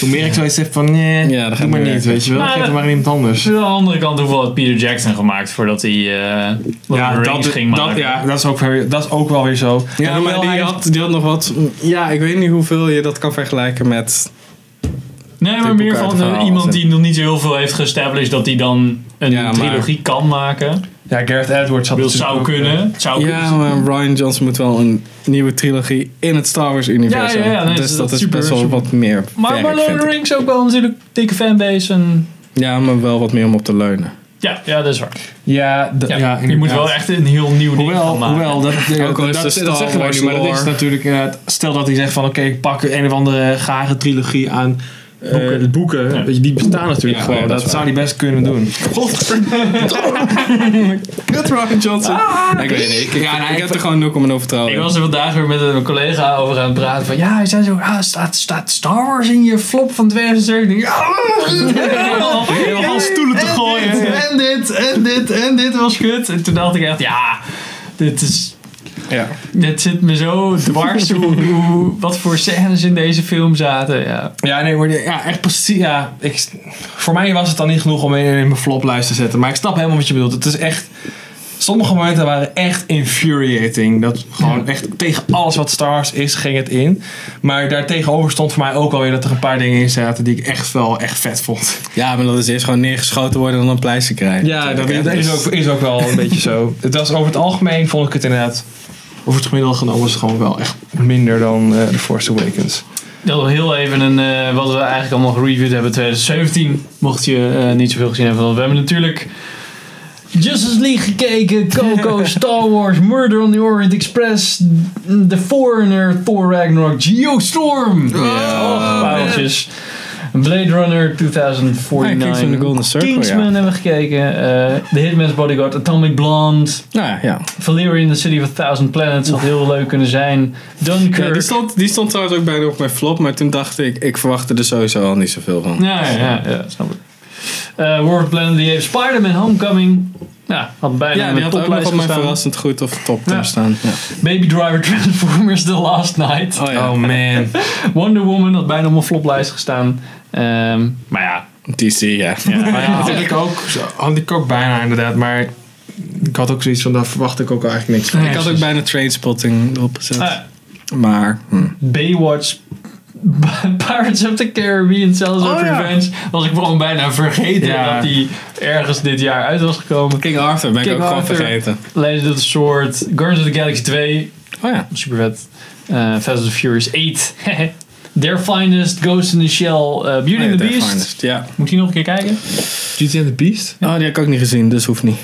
Speaker 2: Hoe meer ik zoiets heb van nee,
Speaker 4: Ja, dat
Speaker 2: doe
Speaker 4: gaat
Speaker 2: maar
Speaker 4: niet
Speaker 2: niet,
Speaker 4: werken.
Speaker 2: weet je wel.
Speaker 1: Maar
Speaker 2: Geef
Speaker 1: dat-
Speaker 2: er maar iemand anders.
Speaker 1: Aan de andere kant, hoeveel had Peter Jackson gemaakt voordat hij eh Lord of the Rings ging
Speaker 2: dat,
Speaker 1: maken?
Speaker 2: ja, dat, is ook, weer- dat is ook wel weer zo. En
Speaker 4: Ja, maar
Speaker 2: hoewel
Speaker 4: die
Speaker 2: hij-
Speaker 4: had, die had nog wat... Ja, ik weet niet hoeveel je dat kan vergelijken met...
Speaker 1: nee, maar
Speaker 4: Type
Speaker 1: meer
Speaker 4: elkaar
Speaker 1: van
Speaker 4: het
Speaker 1: eh,
Speaker 4: verhaal
Speaker 1: iemand
Speaker 4: zetten.
Speaker 1: die nog niet zo heel veel heeft geestablished, dat hij dan een
Speaker 4: Ja, maar-
Speaker 1: trilogie kan maken.
Speaker 2: Ja, Gareth Edwards had
Speaker 1: Dat
Speaker 2: natuurlijk
Speaker 1: zou
Speaker 2: ook,
Speaker 1: kunnen.
Speaker 2: eh,
Speaker 1: Het zou
Speaker 4: Ja, maar Ryan Johnson moet wel een nieuwe trilogie in het Star Wars universum.
Speaker 1: Ja, ja, ja, nee,
Speaker 4: dus
Speaker 1: dat
Speaker 4: dat
Speaker 1: is
Speaker 4: is
Speaker 1: super,
Speaker 4: best wel
Speaker 1: super.
Speaker 4: wat meer
Speaker 1: Maar,
Speaker 4: werk,
Speaker 1: maar Lord
Speaker 4: vind
Speaker 1: of the
Speaker 4: ik.
Speaker 1: Rings ook wel natuurlijk dikke fanbase. En...
Speaker 4: Ja, maar wel wat meer om op te leunen.
Speaker 1: Ja, ja, dat is waar.
Speaker 2: Ja, d- ja,
Speaker 1: je moet wel echt een heel nieuw ding
Speaker 2: hoewel,
Speaker 1: gaan maken.
Speaker 2: Hoewel, dat, dat,
Speaker 1: Ook al is
Speaker 2: dat,
Speaker 1: de Star
Speaker 2: dat zeggen wij
Speaker 1: Wars
Speaker 2: nu, maar dat
Speaker 1: lore.
Speaker 2: is natuurlijk
Speaker 4: eh,
Speaker 2: inderdaad... Stel dat hij zegt van, oké, ik pak een of andere gare trilogie aan eh, boeken. Weet je, die bestaan natuurlijk
Speaker 4: Ja,
Speaker 2: gewoon.
Speaker 4: ja, dat
Speaker 2: dat
Speaker 4: is waar.
Speaker 2: zou hij best kunnen doen.
Speaker 4: Kut Rocket Johnson. ik weet het niet. Ik, ik- ah. ik heb er gewoon 0,0 vertrouwen
Speaker 1: Ik
Speaker 4: in.
Speaker 1: was er vandaag weer met een collega over aan het praten. Van ja, hij zei zo: ah, staat, staat Star Wars in je flop van 2017? Ja, helemaal helemaal stoelen te gooien. En dit, en dit, en dit was kut. En toen dacht ik echt: ja, dit is.
Speaker 4: Ja.
Speaker 1: Dit zit me zo dwars hoe, hoe, wat voor scènes in deze film zaten. Ja.
Speaker 2: Ja, nee, maar die- ja, echt precies. Ja, ik, voor mij was het dan niet genoeg om in, in mijn floplijst te zetten. Maar ik snap helemaal wat je bedoelt. Het is echt. Sommige momenten waren echt infuriating. Dat gewoon echt tegen alles wat Stars is, ging het in. Maar daartegenover stond voor mij ook alweer dat er een paar dingen in zaten die ik echt wel echt vet vond.
Speaker 4: Ja, maar dat is eerst gewoon neergeschoten worden en dan een pleister krijgen.
Speaker 2: Ja, dat
Speaker 4: Natuurlijk,
Speaker 2: is,
Speaker 4: hè,
Speaker 2: is
Speaker 4: dus-
Speaker 2: ook, is ook wel een beetje zo. Het was over het algemeen, vond ik het inderdaad. Over het gemiddelde genomen was het gewoon wel echt minder dan eh The Force Awakens.
Speaker 1: Nog heel even een, eh, wat we eigenlijk allemaal gereviewd hebben 2017. Mocht je eh, niet zoveel gezien hebben. Want we hebben natuurlijk Justice League gekeken. Coco, Star Wars, Murder on the Orient Express. The Foreigner, Thor Ragnarok, Geostorm. Ja. Och, pareltjes. Blade Runner 2049.
Speaker 4: Ja, Kingsman, The Golden Circle,
Speaker 1: Kingsman
Speaker 4: ja.
Speaker 1: hebben we gekeken. eh, The Hitman's Bodyguard, Atomic Blonde.
Speaker 4: Nou Ja, ja.
Speaker 1: Valyria in the City of a Thousand Planets. Had heel leuk kunnen zijn. Dunkirk.
Speaker 4: Ja, die, stond, die stond trouwens ook bijna op mijn flop, maar toen dacht ik, ik verwachtte er sowieso al niet zoveel van.
Speaker 1: Ja, ja, ja, ja, snap ik. Eh War of the Planet of the Apes, Spider-Man Homecoming. Ja, had bijna
Speaker 4: Ja,
Speaker 1: in
Speaker 4: die
Speaker 1: mijn
Speaker 4: had ook nog
Speaker 1: toplijst
Speaker 4: op mijn
Speaker 1: gestaan.
Speaker 4: verrassend goed of top ten
Speaker 1: Ja.
Speaker 4: staan. Ja.
Speaker 1: Baby Driver Transformers The Last Night.
Speaker 4: Oh, ja. Oh,
Speaker 2: man.
Speaker 1: Wonder Woman had bijna op mijn floplijst gestaan. Ehm, maar ja.
Speaker 4: DC, ja.
Speaker 2: Ja, maar ja, had ik ook, had ik ook bijna inderdaad, maar ik had ook zoiets van, daar verwacht ik ook eigenlijk niks van.
Speaker 4: ik had ook bijna Trainspotting erop gezet.
Speaker 1: Ah.
Speaker 4: Maar, hm.
Speaker 1: Baywatch. Pirates of the Caribbean, Cells of
Speaker 2: Oh, ja.
Speaker 1: Revenge. Was ik gewoon bijna vergeten
Speaker 2: Ja.
Speaker 1: dat die ergens dit jaar uit was gekomen.
Speaker 4: King Arthur ben ik ook gewoon vergeten.
Speaker 1: Legend of the Sword, Guardians of the Galaxy 2.
Speaker 4: Oh ja.
Speaker 1: Super vet. Eh, Fast and the Furious 8. Their Finest, Ghost in the Shell, eh, Beauty
Speaker 4: Nee,
Speaker 1: and the
Speaker 4: Their
Speaker 1: Beast.
Speaker 4: Finest, ja.
Speaker 1: Moet ik die nog een keer kijken?
Speaker 2: Beauty and the Beast?
Speaker 4: Oh, die heb ik ook niet gezien, dus hoeft niet.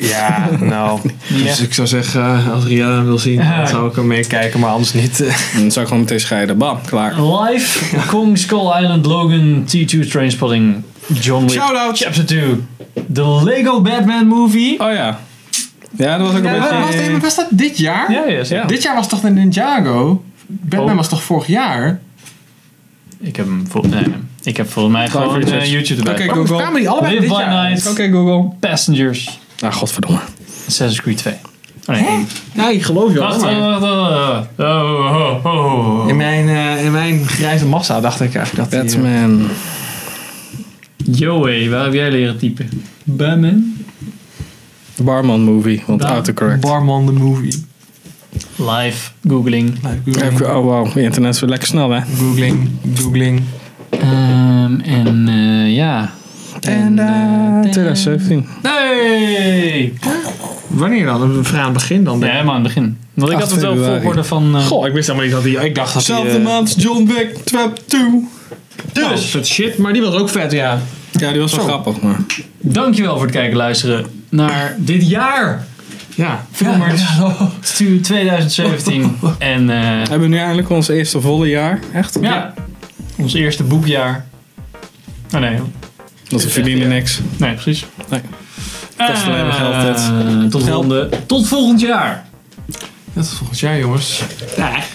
Speaker 2: Ja, nou.
Speaker 1: Ja.
Speaker 2: Dus ik zou zeggen, als Rihanna hem wil zien, dan zou ik hem meekijken, maar anders niet.
Speaker 4: Dan zou ik gewoon meteen scheiden. Bam, klaar.
Speaker 1: Live, Ah, Kong, Skull Island, Logan, T2, Trainspotting, John Wick,
Speaker 2: Shout-out.
Speaker 1: Chapter 2. The Lego Batman Movie.
Speaker 4: Oh ja. Ja, dat was ook een beetje...
Speaker 2: was, dat dit jaar? Oh.
Speaker 1: Ja, ja, zeker.
Speaker 2: Dit jaar was toch de Ninjago? Batman was toch vorig jaar?
Speaker 1: Ik heb hem vol, nee, ik heb volgens mij gewoon
Speaker 2: Research.
Speaker 1: eh, YouTube erbij.
Speaker 2: Oké, Waarom Google. kwamen die Oh, allebei
Speaker 1: Live
Speaker 2: dit
Speaker 1: by
Speaker 2: jaar?
Speaker 1: Night.
Speaker 2: Oké,
Speaker 1: Google. Passengers.
Speaker 4: Ah, godverdomme.
Speaker 1: Assassin's Creed 2. Oh, nee, één.
Speaker 2: Ja, ik geloof je
Speaker 1: Wacht,
Speaker 2: wel.
Speaker 1: wacht,
Speaker 2: maar-
Speaker 1: wacht, wacht. Oh, oh, oh.
Speaker 2: eh, In mijn, eh, in mijn grijze massa dacht ik eigenlijk dat die, eh,
Speaker 4: Batman.
Speaker 1: Joey, waar heb jij leren typen? Batman.
Speaker 4: Barman movie, want
Speaker 1: Ba-
Speaker 4: autocorrect.
Speaker 2: Barman the Movie.
Speaker 1: Live googling.
Speaker 4: Heb je- Oh wow, internet is weer lekker snel hè.
Speaker 2: Googling, googling.
Speaker 1: Ehm, en eh, ja.
Speaker 4: En eh, 2017.
Speaker 1: Hey!
Speaker 2: Wanneer dan? Een Vraag aan het begin dan?
Speaker 1: Ja,
Speaker 2: denk ik.
Speaker 1: helemaal aan het begin. Want ik
Speaker 4: Acht
Speaker 1: had het wel
Speaker 4: februari.
Speaker 1: volgorde van... eh,
Speaker 2: Goh, ik wist helemaal niet dat hij... Ik dacht dat hij...
Speaker 4: Zelfde
Speaker 2: eh,
Speaker 4: maand John Wick, Trap 2.
Speaker 2: Dus.
Speaker 1: dus,
Speaker 2: Dat shit, maar die was ook vet, ja.
Speaker 4: Ja, die was wel
Speaker 2: Zo.
Speaker 4: grappig maar.
Speaker 1: dankjewel voor het kijken en luisteren naar dit jaar.
Speaker 2: Ja.
Speaker 1: Filmers 2017. En eh,
Speaker 4: Hebben we nu eindelijk ons eerste volle jaar? Echt?
Speaker 1: ja, ons eerste boekjaar. Oh nee,
Speaker 4: Want we verdienen niks.
Speaker 1: nee precies. Eh,
Speaker 4: Nee.
Speaker 1: Kost
Speaker 4: alleen maar geld, dit.
Speaker 1: Tot, volgende, tot volgend jaar.
Speaker 2: Dat is volgend jaar, jongens. Ja.